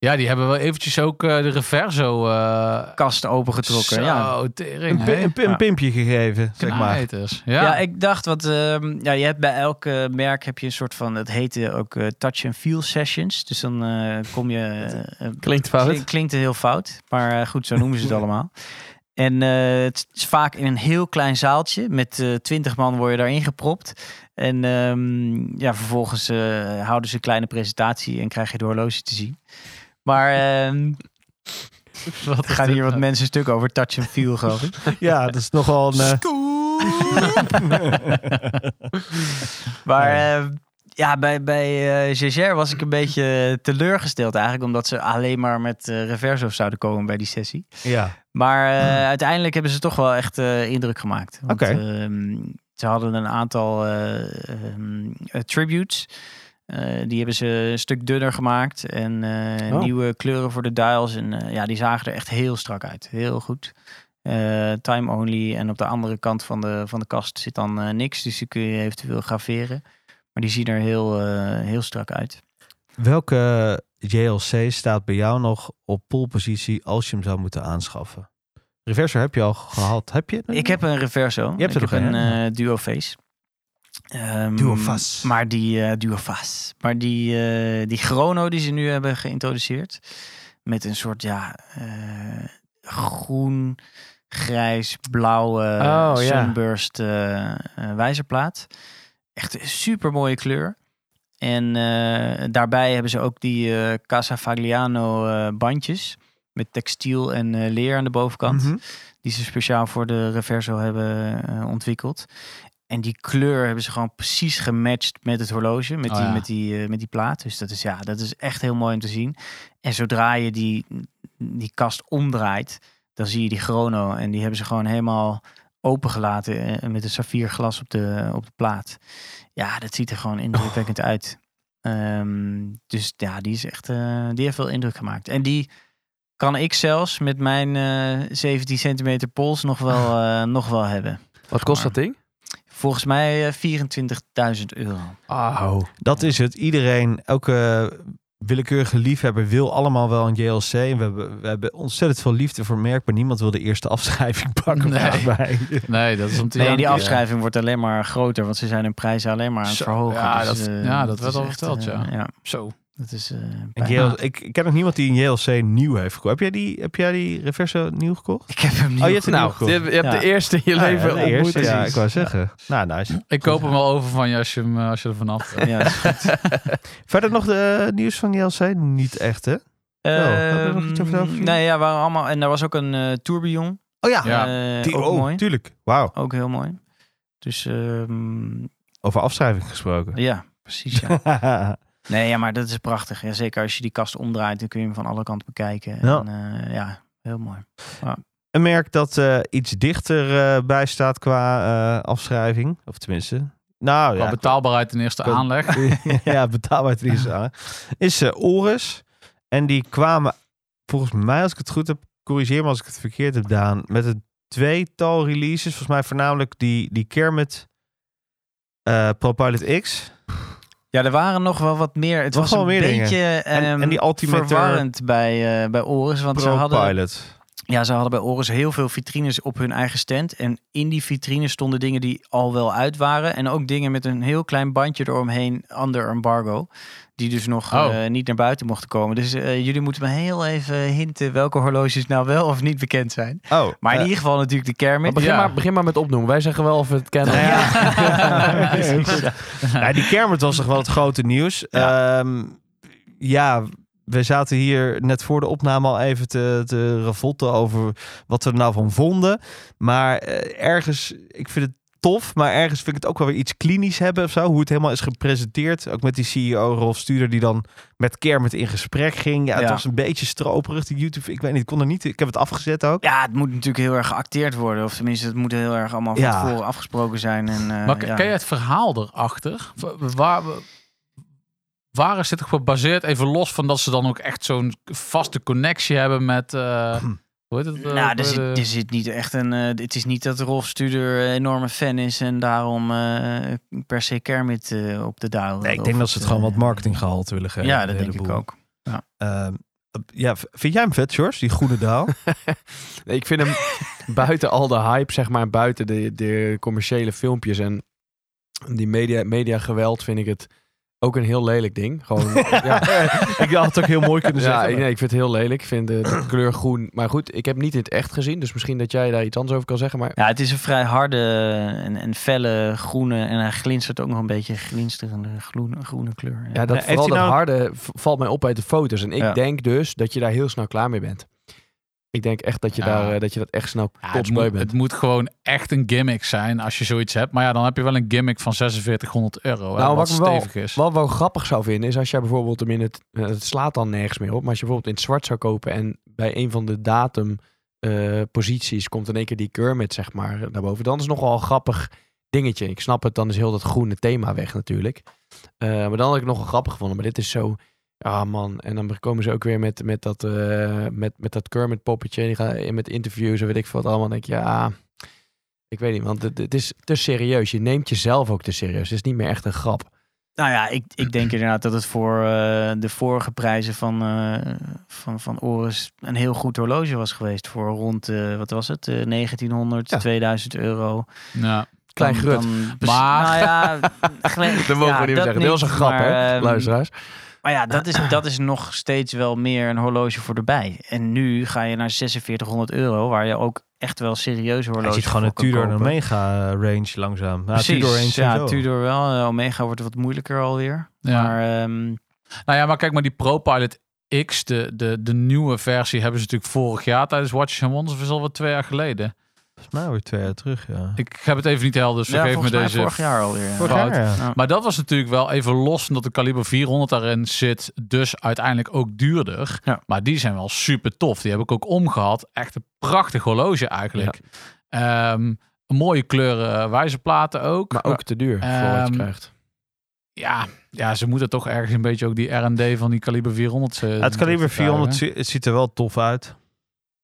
Ja, die hebben wel eventjes ook eh, de Reverso eh
Kast opengetrokken,
zo,
ja.
Een,
tering,
pi-
hè?
een, pi- een
Ja.
pimpje gegeven, zeg maar.
Knijters.
Ja.
Ja,
ik dacht, want ehm, ja, je hebt bij elk eh, merk heb je een soort van, het heette ook eh, touch and feel sessions. Dus dan eh, kom je... eh, eh,
Klinkt fout.
klink- Klinkt heel fout, maar eh, goed, zo noemen ze het allemaal. En eh, het is vaak in een heel klein zaaltje. Met eh, twintig man word je daarin gepropt. En ehm, ja, vervolgens eh, houden ze een kleine presentatie en krijg je de horloge te zien. Maar ehm
wat
er gaan hier wat mensen stuk over touch and feel, geloof ik.
Ja, dat is nogal een... eh,
Maar eh, ja, bij, bij eh, Jaeger was ik een beetje teleurgesteld eigenlijk. Omdat ze alleen maar met eh, Reverso zouden komen bij die sessie.
ja.
Maar eh, uiteindelijk hebben ze toch wel echt eh, indruk gemaakt. Want,
Oké.
ehm, ze hadden een aantal eh, ehm, eh, tributes. Eh, die hebben ze een stuk dunner gemaakt. En eh,
Oh.
nieuwe kleuren voor de dials. En eh, ja, die zagen er echt heel strak uit. Heel goed. Eh, time only. En op de andere kant van de, van de kast zit dan eh, niks. Dus die kun je eventueel graveren. Maar die zien er heel, eh, heel strak uit.
Welke JLC staat bij jou nog op poolpositie als je hem zou moeten aanschaffen? Reverser heb je al gehad. Heb je?
Ik heb een reverso.
Je hebt er nog
ik heb
een,
een
hè?
eh, duo face. Ehm,
Duo Fas.
Maar die eh duo Fas. Maar die, eh, die chrono die ze nu hebben geïntroduceerd. Met een soort ja, eh, groen, grijs, blauwe
Oh,
ja.
sunburst eh, eh, wijzerplaat. Echt een super mooie kleur. En eh, daarbij hebben ze ook die eh, Casa Fagliano eh, bandjes. Met textiel en eh, leer aan de bovenkant
Mhm.
die ze speciaal voor de Reverso hebben eh, ontwikkeld. En die kleur hebben ze gewoon precies gematcht met het horloge, met,
Oh
die,
ja.
met, die, eh, met die plaat. Dus dat is, ja, dat is echt heel mooi om te zien. En zodra je die, die kast omdraait, dan zie je die chrono. En die hebben ze gewoon helemaal opengelaten
Oh.
eh, met een saffierglas op de, op de plaat. Ja, dat ziet er gewoon indrukwekkend uit. Ehm, dus ja, die is echt, eh, die heeft wel indruk gemaakt. En die kan ik zelfs met mijn eh 17 centimeter pols nog wel, eh, nog wel hebben.
Wat kost dat ding?
Volgens mij eh, 24.000 euro.
Oh.
Dat is het. Iedereen, elke willekeurige liefhebber wil allemaal wel een JLC. En we hebben, we hebben ontzettend veel liefde voor het merk, maar niemand wil de eerste afschrijving pakken.
Nee.
volgens mij.
Nee, dat is om te
Nee, die
janken.
afschrijving wordt alleen maar groter, want ze zijn hun prijzen alleen maar aan het
Zo,
verhogen.
ja,
Dus,
dat-
eh,
ja, dat
is
werd al
echt,
verteld,
eh,
ja.
ja.
Zo.
Dat is. eh,
Een
bijna-
JLC ik, ik ken ook niemand die een JLC nieuw heeft gekocht. Heb jij die, heb jij die Reverse nieuw gekocht?
Ik heb hem niet.
Oh, je hebt een
Nou,
nieuw
je
gekocht.
hebt, je hebt
Ja.
de eerste in je
Ah, ja,
leven
de
ontmoet.
eerste, ja,
precies.
ik wou zeggen. Nou, nice.
Ik koop hem wel over van je als je, hem, eh, als je er vanaf bent.
Ja, dat is goed.
Verder nog de eh, nieuws van JLC? Niet echt, hè? hebben we nog iets over
Ehm,
gezien?
Nee, ja, waren allemaal. En daar was ook een eh tourbillon.
Oh ja,
Ja,
Eh,
die,
ook
oh,
mooi.
tuurlijk. Wauw.
Ook heel mooi. Dus ehm,
Over afschrijving gesproken.
ja, precies. Ja. nee, ja, maar dat is prachtig. Ja, zeker als je die kast omdraait, dan kun je hem van alle kanten bekijken.
Ja.
En, eh, ja, heel mooi.
een merk dat eh, iets dichter eh, bij staat qua eh, afschrijving. Of tenminste, nou
Qua
ja,
betaalbaarheid ten eerste
Qua-
aanleg.
ja, betaalbaarheid is aan. Is eh Oris. En die kwamen, volgens mij als ik het goed heb, corrigeer me als ik het verkeerd heb gedaan, met een tweetal releases. Volgens mij voornamelijk die, die Kermit eh ProPilot X.
Ja, er waren nog wel wat meer. Het
Nog
was
wel
een
meer dingen.
beetje
En-
ehm,
en die eh, Altimeter-
verwarrend bij, eh bij Oris. Want ze hadden,
ProPilot.
ja, ze hadden bij Oris heel veel vitrines op hun eigen stand. En in die vitrines stonden dingen die al wel uit waren. En ook dingen met een heel klein bandje eromheen, under embargo. Die dus nog
Oh.
eh, niet naar buiten mochten komen. Dus eh, jullie moeten me heel even hinten welke horloges nou wel of niet bekend zijn.
Oh,
Maar in
eh,
ieder geval natuurlijk de
Maar
Kermit.
begin,
Ja.
maar, begin maar met opnoemen. Wij zeggen wel of we het kennen.
Nou
of niet.
ja. nou, die Kermit was toch wel het grote nieuws. Ja. ja, we zaten hier net voor de opname al even te, te ravotten over wat we er nou van vonden. Maar eh, ergens, ik vind het tof, maar ergens vind ik het ook wel weer iets klinisch hebben of zo. Hoe het helemaal is gepresenteerd. Ook met die CEO Rolf Studer die dan met Kermit in gesprek ging. Ja, het
Ja.
was een beetje stroperig, die YouTube. Ik weet niet, ik kon er niet... Ik heb het afgezet ook.
Ja, het moet natuurlijk heel erg geacteerd worden. Of tenminste, het moet heel erg allemaal van
Ja.
tevoren afgesproken zijn. En, eh,
Maar k-
ja.
ken je het verhaal erachter? W- Waar, waar is dit op gebaseerd? Even los van dat ze dan ook echt zo'n vaste connectie hebben met... eh, hoe heet het? eh,
Nou,
de-
er zit, er zit niet echt een. eh, het is niet dat Rolf Studer een enorme fan is en daarom eh, per se Kermit eh, op de duil.
Nee, ik
Of
denk dat ze het
eh,
gewoon wat marketinggehalte willen geven.
Ja,
een
dat denk ik
heleboel.
ook.
Ehm, ja, v- vind jij hem vet, George? Die groene daal?
Nee, ik vind hem buiten al de hype, zeg maar, buiten de, de commerciële filmpjes en die media, media geweld, vind ik het ook een heel lelijk ding. Gewoon, ja.
ik had het ook heel mooi kunnen
Ja,
zeggen.
ik, nee, ik vind het heel lelijk. Ik vind de, de kleur groen. Maar goed, ik heb niet in het echt gezien. Dus misschien dat jij daar iets anders over kan zeggen. Maar
Ja, het is een vrij harde en, en felle groene. En hij glinstert ook nog een beetje glinsterende groene, groene kleur.
ja, dat,
heeft
vooral
hij
dat
nou-
harde v- valt mij op uit de foto's. En ik
Ja.
denk dus dat je daar heel snel klaar mee bent. Ik denk echt dat je,
Ja.
daar, eh, dat, je dat echt snel
Ja, het,
kotsbeu
moet,
bent.
het moet gewoon echt een gimmick zijn als je zoiets hebt. Maar ja, dan heb je wel een gimmick van 4600 euro. hè,
Nou,
wat
wat ik wel-
stevig is.
Wat wel grappig zou vinden is als jij bijvoorbeeld hem in het, eh, het slaat dan nergens meer op, maar als je bijvoorbeeld in het zwart zou kopen en bij een van de datumposities posities komt in één keer die Kermit zeg maar naar boven, dan is het nogal een grappig dingetje. Ik snap het, dan is heel dat groene thema weg natuurlijk. Eh, maar dan had ik het nogal grappig gevonden, maar dit is zo, ah man. En dan komen ze ook weer met, met, dat, eh, met, met dat Kermit poppetje en die gaan met interviews en weet ik veel wat allemaal. Dan denk ik, ja... Ik weet niet, want het, het is te serieus. Je neemt jezelf ook te serieus. Het is niet meer echt een grap.
Nou ja, ik, ik denk inderdaad dat het voor eh, de vorige prijzen van, eh, van, van Oris een heel goed horloge was geweest. Voor rond, eh, wat was het, Eh, 1900,
Ja.
2000 euro.
Ja.
Klein
Dan-
grut.
dan bes-
Maar-
Nou ja,
Dat mogen we niet meer zeggen. Dit was een grap, hè,
ehm,
luisteraars.
Maar ja, dat is, dat is nog steeds wel meer een horloge voor erbij. En nu ga je naar 4600 euro, waar je ook echt wel serieuze horloges
Hij ziet gewoon
voor
een
kan
Tudor en
kopen.
Omega eh, range langzaam. Ja,
Precies,
Tudor range
ja,
sowieso.
Tudor wel. Eh, Omega wordt wat moeilijker alweer.
Ja.
Maar ehm,
Nou ja, maar kijk maar, die ProPilot X, de, de, de nieuwe versie, hebben ze natuurlijk vorig jaar tijdens Watches and Wonders, of is het alweer twee jaar geleden.
Volgens mij weer twee jaar terug, ja.
Ik heb het even niet helder, dus
ja,
vergeef me
volgens mij
deze
vorig jaar Nou, alweer. ja.
Vorig jaar,
ja.
Ja.
Maar dat was natuurlijk wel even los omdat de kaliber 400 daarin zit. Dus uiteindelijk ook duurder.
Ja.
Maar die zijn wel super tof. Die heb ik ook omgehad. Echt een prachtig horloge eigenlijk. Ehm, mooie kleuren, wijzerplaten ook.
Maar ook te duur voor wat je
Ehm,
krijgt.
ja, ja, ze moeten toch ergens een beetje ook die R&D van die kaliber 400. eh,
het kaliber
natuurlijk krijgen.
400 zie- het ziet er wel tof uit.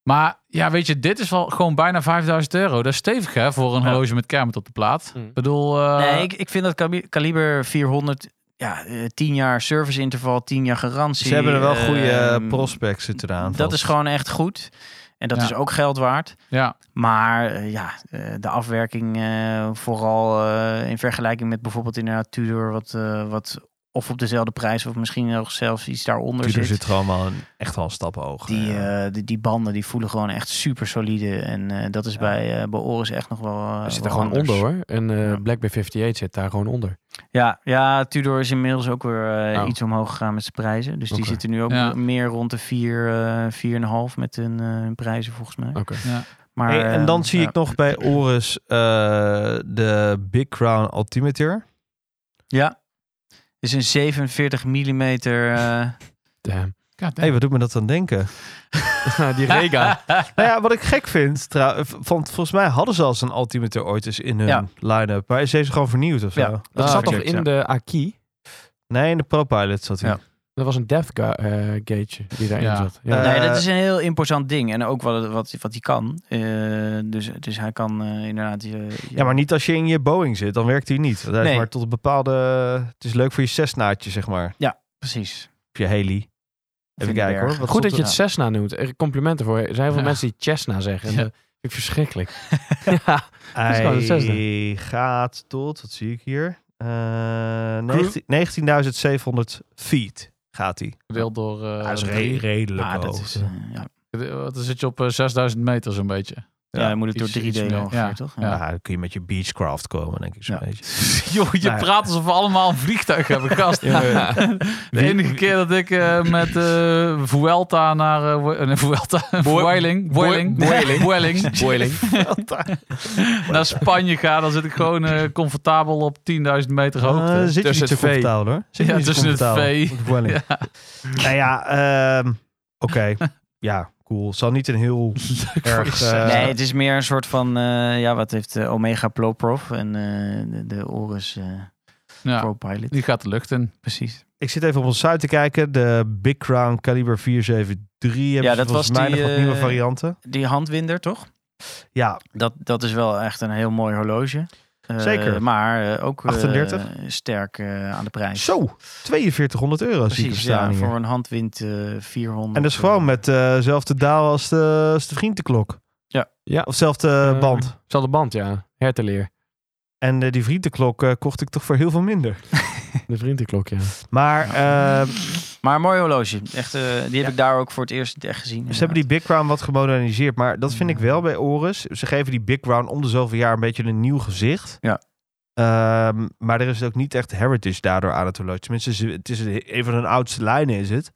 Maar ja, weet je, dit is wel gewoon bijna 5000 euro. Dat is stevig hè, voor een
Ja.
horloge met Kermit op de plaat.
Mm.
Ik bedoel, eh,
nee, ik, ik vind dat kali- kaliber 400, ja, eh, 10 jaar serviceinterval, 10 jaar garantie.
Ze hebben er wel goede
ehm,
eh, prospects zitten eraan.
Dat
vast.
is gewoon echt goed. En dat
Ja.
is ook geld waard.
ja,
Maar eh, ja, eh, de afwerking eh, vooral eh, in vergelijking met bijvoorbeeld inderdaad Tudor, wat, eh, wat of op dezelfde prijs of misschien nog zelfs iets daaronder
Tudor
zit.
zit gewoon wel een, echt wel een stap hoger.
Die,
ja.
eh, die, die banden die voelen gewoon echt super solide. En eh, dat is bij, eh bij Oris echt nog wel. eh,
Hij zit
wel
er gewoon
anders.
onder hoor. En eh
Ja.
Black Bay 58 zit daar gewoon onder.
Ja, ja, Tudor is inmiddels ook weer eh,
Oh.
iets omhoog gegaan met zijn prijzen. Dus
Oké.
die zitten nu ook
Ja.
meer rond de 4, eh 4,5 met hun eh, prijzen volgens mij.
Oké.
ja.
Maar,
Hey, en dan
eh,
zie
ja.
ik nog bij Oris eh, de Big Crown Altimeter.
Ja, is een 47 mm. eh,
Damn.
God
Hé,
damn.
wat doet me dat dan denken?
die Rega.
Nou ja, wat ik gek vind, trouw- v- want volgens mij hadden ze al een altimeter ooit eens in hun
Ja.
line-up. Maar ze heeft ze gewoon vernieuwd of zo.
Ja,
Dat
Ah,
zat toch
exact,
in
ja.
de Aki?
Nee, in de ProPilot zat hij.
Ja.
Dat was een Death ga- eh, Gate die daarin
Ja.
zat. Ja.
Eh,
nee, dat is een heel imposant ding. En ook wat, wat, wat hij kan. Eh, dus, dus hij kan eh, inderdaad... je- je-
Ja, maar niet als je in je Boeing zit, dan werkt hij niet. Dat is
Nee.
maar tot een bepaalde... Het is leuk voor je Cessnaatje, zeg maar.
Precies.
Of je Heli. Even
Vind ik
kijken
erg.
hoor. Wat
Goed
stond
dat je
er-
het Cessna noemt. Er complimenten voor. Er zijn heel veel
Ja.
mensen die Cessna zeggen. En
Ja.
Dat vind ik verschrikkelijk. ja. is gewoon een Cessna.
Hij gaat tot, wat zie ik hier? Eh, 19 19.700 feet gaat hij.
gedeeld door... eh,
Dat is
drie.
re- redelijk
Maar dat
hoog.
is... eh, ja.
Wat dan zit je op eh, 6000 meter zo'n beetje.
Ja,
Ja,
dan moet het door
iets-
drie
iets
delen
meer.
ongeveer,
Ja.
toch?
Ja, dan kun je met je Beechcraft komen, denk ik zo'n
Ja.
beetje.
Joh, je
Nou ja.
praat alsof we allemaal een vliegtuig hebben, gast. De enige keer dat ik eh, met eh Vuelta naar... eh, Wo- nee, Vuelta. Boiling. Boiling. Boiling. naar Spanje ga, dan zit ik gewoon eh, comfortabel op 10.000 meter hoogte.
Eh, zit je
Tussen
niet zo
het vee.
comfortabel hoor. Zit je
Ja,
niet zo
tussen het
comfortabel.
vee.
Moet ik wel in. Nou ja, ehm, oké. Ja, cool. Zal niet een heel erg... eh,
nee, het is meer een soort van... eh, ja, wat heeft eh, Omega Pro Prof en eh, de, de Oris eh
ja,
Pro Pilot.
die gaat de lucht in.
Precies.
Ik zit even op onze site te kijken. De Big Crown Caliber 473 hebben
Ja,
ze
dat
volgens
was
mij
die,
nog wat nieuwe
eh,
varianten.
Die handwinder, toch?
Ja,
Dat, dat is wel echt een heel mooi horloge. Eh,
Zeker.
Maar eh, ook eh,
38?
sterk eh, aan de prijs.
zo. 4200 euro zie ik hem
Precies,
staan hier.
ja, voor een handwind eh 400.
En dat is gewoon
eh,
met dezelfde daal als de, als de vriendenklok.
Ja.
Ja.
Of zelfde
Eh,
band.
Zal de band, ja. Herteleer.
En eh, die vriendenklok eh, kocht ik toch voor heel veel minder.
De vriendenklok, ja.
Maar eh,
Maar een mooi horloge. Echt, eh, die heb ik daar ook voor het eerst echt gezien.
Ze Dus hebben die Big Crown wat gemoderniseerd. Maar dat vind ik
Ja.
wel bij Oris. Ze geven die Big Crown om de zoveel jaar een beetje een nieuw gezicht.
Ja.
Ehm, maar er is ook niet echt heritage daardoor aan het horloge. Tenminste, ze- het is een- een van hun oudste lijnen is het.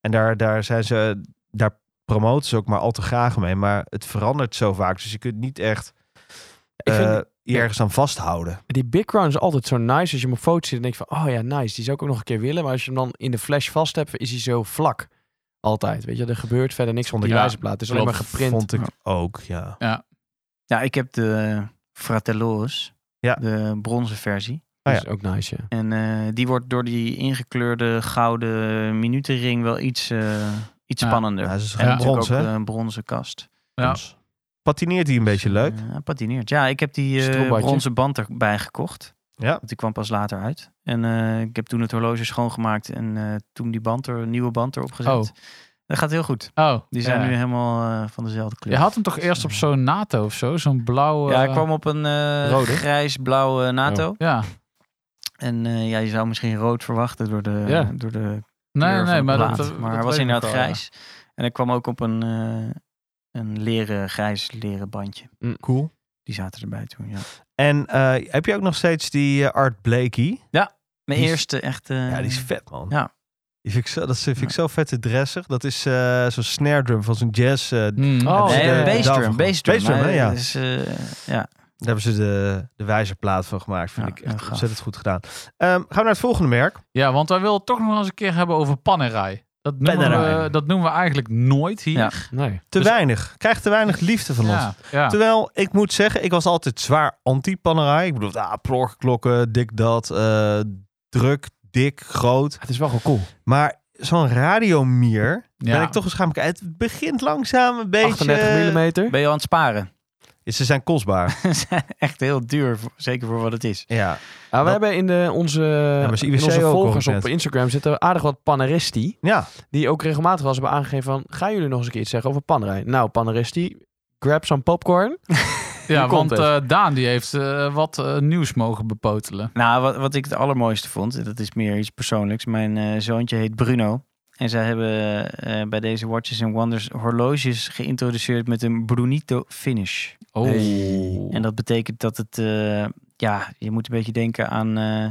En daar, daar zijn ze, daar promoten ze ook maar al te graag mee. Maar het verandert zo vaak. Dus je kunt niet echt
Ik vind-
eh, je ergens aan vasthouden.
Die Big Crown is altijd zo nice. Als je hem op foto ziet, dan denk je van... Oh ja, nice. Die zou ik ook nog een keer willen. Maar als je hem dan in de flash vast hebt, is hij zo vlak. Altijd. Weet je, er gebeurt verder niks
Vond
op die
ik- ja,
wijzerplaat. Het is alleen maar
klopt.
geprint.
Vond ik ook, ja.
Ja, ik heb de Fratelloris.
Ja.
De bronzen versie.
Ah, ja.
Dat is Dus ook nice, ja.
En eh, die wordt door die ingekleurde gouden minutenring wel iets, eh, iets
Ja.
spannender.
Ja,
En
Nou, ze is gewoon
Ja.
natuurlijk
brons,
ook
hè?
eh, een bronzen kast.
Ja.
Brons. Patineert hij een beetje leuk?
Eh, hij patineert. Ja, ik heb die eh,
Stroopbadje.
bronzen band erbij gekocht.
Ja.
Want die kwam pas later uit. En eh, ik heb toen het horloge schoongemaakt en eh, toen die band er, nieuwe band erop gezet.
Oh.
Dat gaat heel goed.
Oh,
Die zijn
ja.
nu helemaal eh, van dezelfde kleur.
Je had hem toch eerst op zo'n NATO of zo? Zo'n blauwe...
Ja, ik kwam op een eh,
Rode?
grijs-blauwe
Oh.
NATO.
Ja.
En eh, ja, je zou misschien rood verwachten door de,
Ja.
door de kleur
Nee,
van
nee,
de
maar dat...
plaat.
dat-
maar hij
dat
was
weet ik
inderdaad
nog wel, ja.
grijs. En ik kwam ook op een, eh, een leren, grijs leren bandje.
Mm.
Cool.
Die zaten erbij toen, ja.
En eh, heb je ook nog steeds die eh, Art Blakey?
Mijn
Die is-
eerste echte...
ja, die is vet, man.
Eh, ja.
Die vind ik zo, dat vind ik zo vet te dressig. Dat is eh, zo'n snare drum van zo'n jazz. eh,
Mm.
Oh,
nee,
de-
een bassdrum.
daarvan.
Bassdrum,
Bassdrum,
maar
hè, ja.
het is, eh, ja.
daar hebben ze de, de wijzerplaat van gemaakt. Vind
Ja,
ik
heel
echt
gaaf.
ontzettend goed gedaan. Ehm, gaan we naar het volgende merk.
Ja, want wij willen het toch nog eens een keer hebben over Panerai. Dat noemen,
Panerai.
we, dat noemen we eigenlijk nooit hier.
Ja.
Nee.
Te
Dus-
weinig. Krijgt te weinig liefde van ons.
Ja, ja.
Terwijl, ik moet zeggen, ik was altijd zwaar anti-panerai. Ik bedoel, ah, plorgklokken, dik dat, eh, druk, dik, groot.
Het is wel gewoon cool.
Maar zo'n radiomier,
Ja.
ben ik toch eens gaan bekijken. Het begint langzaam een beetje...
38 mm.
Ben je al aan het sparen?
Ze zijn kostbaar.
Ze zijn echt heel duur, voor- zeker voor wat het is.
ja.
Nou, we hebben in de, onze,
maar is
in
IWC
onze
ook,
volgers
hoor ik
op
net.
Instagram zitten aardig wat paneristi.
ja,
Die ook regelmatig wel eens hebben aangegeven van... Gaan jullie nog eens een keer iets zeggen over panrij? Nou, paneristi, grab some popcorn.
Ja,
komt
want eh, Daan die heeft eh, wat eh, nieuws mogen bepotelen.
Nou, wat, wat ik het allermooiste vond, dat is meer iets persoonlijks. Mijn eh, zoontje heet Bruno. En zij hebben eh, bij deze Watches and Wonders horloges geïntroduceerd met een Brunito finish.
Oh.
En dat betekent dat het, eh, ja, je moet een beetje denken aan, eh,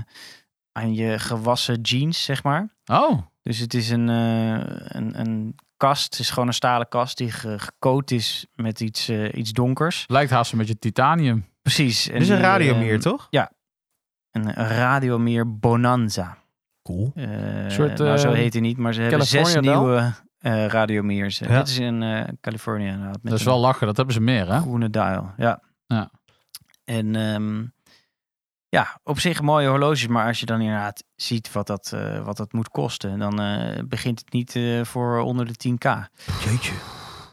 aan je gewassen jeans, zeg maar.
oh.
Dus het is een, eh, een, een kast, het is gewoon een stalen kast die ge- gecoat is met iets, eh, iets donkers.
Lijkt haast een beetje titanium.
Precies. En
dit is een
die,
radiomier,
eh,
toch?
Een radiomier Bonanza.
Cool.
Eh,
soort,
nou, zo
eh,
heet hij niet, maar ze hebben zes
California wel?
nieuwe eh radiomiers.
Ja.
Dit is in eh, Californië inderdaad. met
Dat is
een-
wel lachen, dat hebben ze meer, hè?
Groene dial, ja.
Ja.
En ehm, ja, op zich mooie horloges, maar als je dan inderdaad ziet wat dat, eh, wat dat moet kosten, dan eh, begint het niet eh, voor onder de 10k.
Jeetje.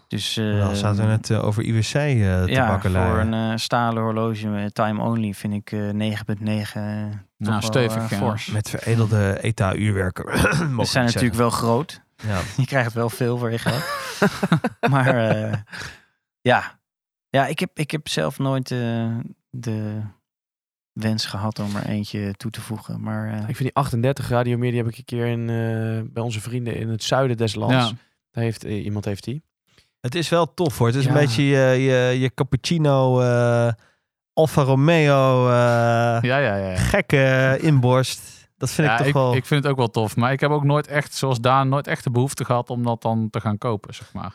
Dus
Nou,
eh,
we zaten we net eh, over IWC eh te
ja,
bakken
voor
lijn.
een eh, stalen horloge met time only vind ik eh, 9,9 toch wel,
nou, stevig.
eh,
ja.
fors.
Met veredelde ETA-uurwerken.
Ze zijn natuurlijk wel groot.
Ja.
Je krijgt wel veel voor je geld. maar eh, ja, ja ik, heb, ik heb zelf nooit eh, de wens gehad om er eentje toe te voegen. Maar eh,
Ik vind die 38 radiomeer, die heb ik een keer in, eh, bij onze vrienden in het zuiden des lands.
Ja.
Daar heeft, eh, iemand heeft die.
Het is wel tof hoor. Het is
Ja.
een beetje je, je, je cappuccino, eh, Alfa Romeo, eh,
Ja, ja, ja.
gekke inborst. Dat vind
Ja,
ik toch wel...
ik vind het ook wel tof. Maar ik heb ook nooit echt, zoals Daan, nooit echt de behoefte gehad om dat dan te gaan kopen, zeg maar.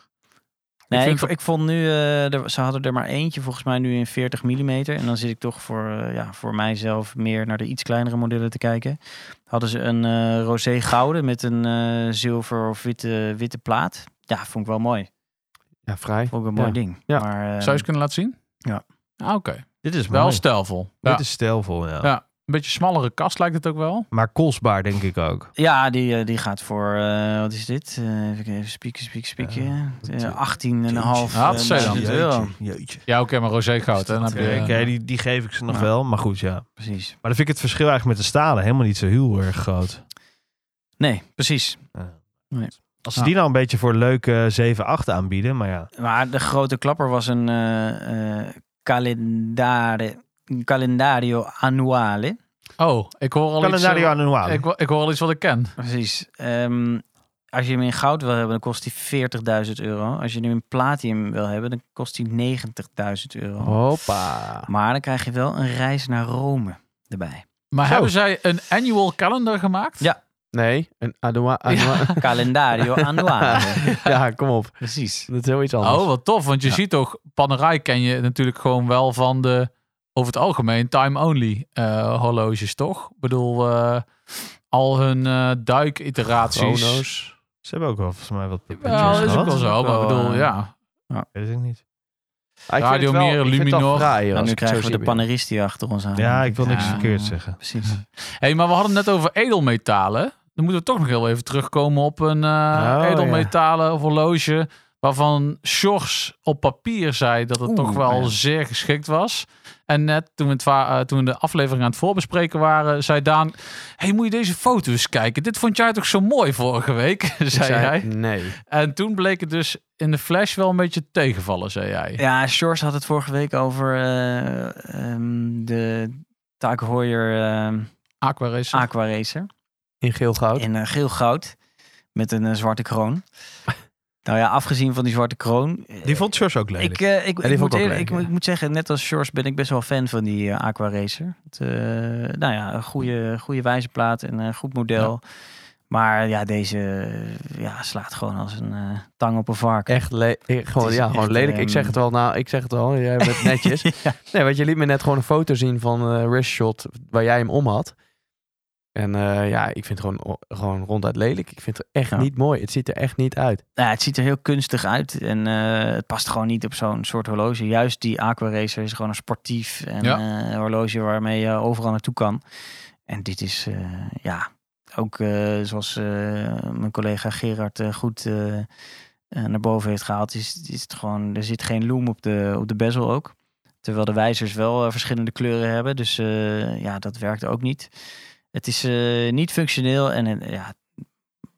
nee, ik,
vind
ik,
dat-
vond nu, eh, er- ze hadden er maar eentje volgens mij nu in 40 mm. En dan zit ik toch voor, eh, ja, voor mijzelf meer naar de iets kleinere modellen te kijken. Hadden ze een eh rosé gouden met een eh, zilver of witte, witte plaat. Ja, vond ik wel mooi.
Ja, vrij.
Vond ik een mooi
Ja.
ding.
Ja.
Maar, eh,
Zou je eens kunnen laten zien?
Ja.
Ah, Oké.
dit is
Wel
mooi.
stijlvol. Ja.
Dit is stijlvol, ja.
Ja. Een beetje smallere kast lijkt het ook wel.
Maar kostbaar denk ik ook.
Ja, die, eh, die gaat voor, eh, wat is dit? Eh, even kijken, spieken, spieken, spieken.
dat, eh,
18 en een half.
Ah, dat
eh,
zei dan.
duizend euro.
Jeetje.
Ja, oké, maar roze goud. hè, Oh, Dan heb je,
Oké, die, die geef ik ze nog
Ja.
wel. Maar goed, ja.
Precies.
Maar dan vind ik het verschil eigenlijk met de stalen helemaal niet zo heel erg groot.
Nee, precies.
Als ze
Ah.
die nou een beetje voor leuke 7-8 aanbieden, maar ja.
Maar de grote klapper was een eh, eh, calendare, calendario annuale.
Oh, ik hoor al
Calendario
iets.
annuale.
eh, Ik, wo- ik hoor al iets wat ik ken.
Precies. Ehm, als je hem in goud wil hebben, dan kost hij 40.000 euro. Als je hem in platinum wil hebben, dan kost hij 90.000 euro.
Oh.
Hoppa.
Maar dan krijg je wel een reis naar Rome erbij.
Maar
Zo.
hebben zij een annual calendar gemaakt?
Ja.
Nee, een adoa. adoa-
Calendario annuale.
Ja. kom op.
Precies.
Dat is heel iets anders.
Oh, wat tof. Want je ziet toch, Panerai ken je natuurlijk gewoon wel van de, over het algemeen, time-only eh, horloges, toch? Ik bedoel, eh, al hun eh duik-iteraties.
Chrono's.
Ze hebben ook wel volgens mij wat papiertjes
Ja, dat is ook
gehad.
wel zo.
Ook
Maar ik
wel,
bedoel,
eh,
ja.
Weet ik niet.
Ah, ik vind
Radio
het wel-
Meer,
ik vind het wel
Luminor.
fraai,
En
als
Nou, nu
ik het zo
krijgen we
zie
de
weer.
paneristi achter ons aan.
Ja, ik wil niks
Ja.
verkeerd zeggen.
Precies.
hey, maar we hadden het net over edelmetalen. Dan moeten we toch nog heel even terugkomen op een
Oh,
eh,
ja.
edelmetalen horloge. Waarvan Sjors op papier zei dat het
Oeh, nou
toch wel
ja.
zeer geschikt was. En net toen we, het wa- eh, toen we de aflevering aan het voorbespreken waren, zei Daan... hey, moet je deze foto eens kijken? Dit vond jij toch zo mooi vorige week, zei,
Ik zei,
hij.
Nee.
En toen bleek het dus in de flash wel een beetje tegenvallen, zei jij.
Ja, Shores had het vorige week over eh, ehm, de Taak Heuer ehm,
Aqua Racer.
Aqua Racer
In geel goud.
in eh, geel goud met een eh, zwarte kroon. nou ja, afgezien van die zwarte kroon. eh,
Die vond George ook leuk.
ik, eh, ik,
die vond
ik,
ik ook
moet eerlijk-
lelijk,
ik,
ja.
moet- ik moet zeggen, net als Shores ben ik best wel fan van die eh, Aqua Racer. Het, eh, nou ja, een goede, goede wijzerplaat en een goed model. Maar ja, deze eh, ja, slaat gewoon als een eh, tang op een varken.
Echt le- eh, gewoon,
Het is
ja, gewoon
echt,
lelijk. Ik
ehm,
zeg het wel, nou, ik zeg het wel. Jij bent netjes. Nee, want je liet me net gewoon een foto zien van eh wristshot waar jij hem om had. En eh, ja, ik vind het gewoon, gewoon ronduit lelijk. Ik vind het echt
Ja.
niet mooi. Het ziet er echt niet uit.
Nou, het ziet er heel kunstig uit en eh, het past gewoon niet op zo'n soort horloge. Juist die Aqua Racer is gewoon een sportief en,
Ja.
eh, horloge waarmee je overal naartoe kan. En dit is, eh, ja, ook eh, zoals eh, mijn collega Gerard eh, goed eh, eh, naar boven heeft gehaald, is, is het gewoon, er zit geen loom op de, op de bezel ook. Terwijl de wijzers wel eh, verschillende kleuren hebben, dus eh, ja, dat werkt ook niet. Het is eh, niet functioneel en eh, ja,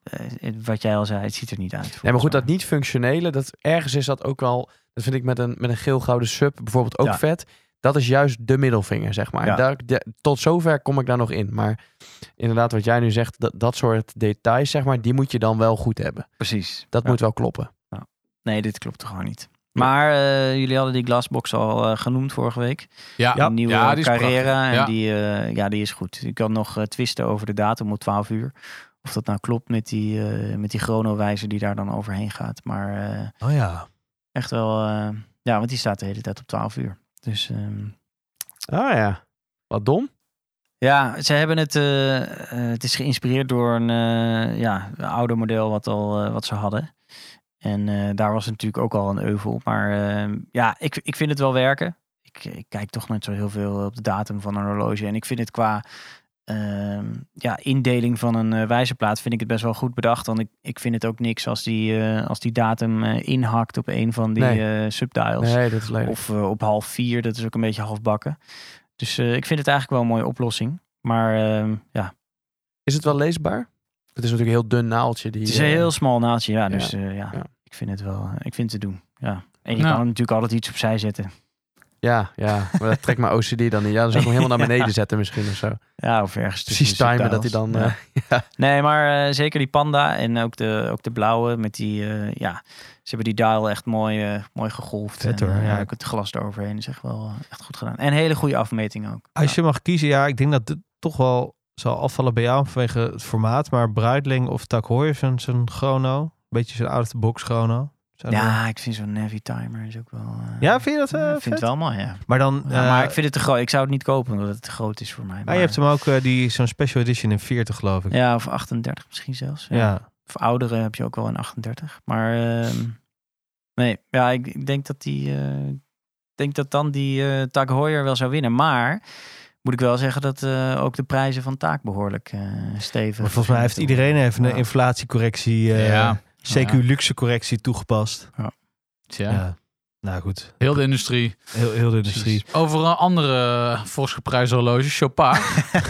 eh, wat jij al zei, het ziet er niet uit.
Nee, maar goed,
volgens mij.
dat niet functionele, dat ergens is dat ook wel. Dat vind ik met een, met een geel-gouden sub bijvoorbeeld ook
Ja.
vet. Dat is juist de middelvinger, zeg maar.
Ja.
Daar, de- tot zover kom ik daar nog in. Maar inderdaad, wat jij nu zegt, dat, dat soort details, zeg maar, die moet je dan wel goed hebben.
Precies.
Dat
Ja.
moet wel kloppen.
Nee, dit klopt gewoon niet. Maar eh, jullie hadden die glasbox al eh, genoemd vorige week.
Ja,
Een nieuwe Carrera. En
Ja.
die, eh, ja, die is goed. Ik kan nog eh, twisten over de datum om 12 uur. Of dat nou klopt met die, eh met die chronowijzer die daar dan overheen gaat. Maar eh,
Oh ja.
echt wel... eh, ja, want die staat de hele tijd op 12 uur. Dus ehm,
Ah ja. Wat dom.
ja, ze hebben het... eh, eh, het is geïnspireerd door een eh ja, een ouder model wat, al, eh, wat ze hadden. En eh, daar was natuurlijk ook al een euvel. Maar eh, ja, ik, ik vind het wel werken. Ik, ik kijk toch nooit zo heel veel op de datum van een horloge. En ik vind het qua ehm, ja, indeling van een eh, wijzerplaat vind ik het best wel goed bedacht. Want ik, ik vind het ook niks als die, eh, als die datum eh, inhakt op een van die
Nee.
eh, subdials.
Nee, dat is leuk.
Of eh, op half vier, dat is ook een beetje half bakken. Dus eh, ik vind het eigenlijk wel een mooie oplossing. Maar ehm, ja,
Is het wel leesbaar? Het is natuurlijk een heel dun naaldje. Die,
het is een
eh,
heel smal naaldje. Ja, dus eh, ja,
Ja.
ik vind het wel, eh, ik vind het te doen. Ja. En je
Nou.
kan hem natuurlijk altijd iets opzij zetten.
Ja, ja. Maar dat trekt mijn OCD dan in. Ja, dan zou ik hem helemaal naar beneden zetten misschien of zo.
Ja, of ergens tussen
Precies
de
timen dat hij
subdials.
dan...
Ja.
eh,
Nee, maar eh, zeker die panda en ook de, ook de blauwe met die, eh, ja, ze hebben die dial echt mooi, eh, mooi gegolfd.
Vet
en,
hoor,
eh,
ja.
Ook het glas eroverheen is echt wel eh, echt goed gedaan. En hele goede afmetingen ook.
Als je mag kiezen, ja, ik denk dat dit toch wel zal afvallen bij jou vanwege het formaat. Maar Breitling of Takhoi zijn zijn chrono. Beetje zijn out-of-the-box chrono. Zijn
ja,
er-
ja, ik vind zo'n Navi timer is ook wel... eh,
ja, vind je dat eh,
ja, ik
vet?
vind het wel mooi, ja.
Maar dan,
Ja,
eh,
maar ik vind het te groot. Ik zou het niet kopen omdat het te groot is voor mij.
ah, je hebt hem ook, eh, die zo'n special edition in 40 geloof ik.
Ja, of 38 misschien zelfs. Ja.
ja.
Of oudere heb je ook wel een 38. Maar ehm, nee, ja, ik, ik denk dat die. eh, ik denk dat dan die eh Taak Hoyer wel zou winnen. Maar moet ik wel zeggen dat eh, ook de prijzen van Taak behoorlijk eh stevig.
Maar volgens mij heeft iedereen even een inflatiecorrectie, eh,
Ja.
CQ luxe correctie toegepast.
Tja.
Ja. Nou goed,
Heel de industrie.
heel, heel de industrie.
Over een andere eh, fors geprijsde horloge, Chopin.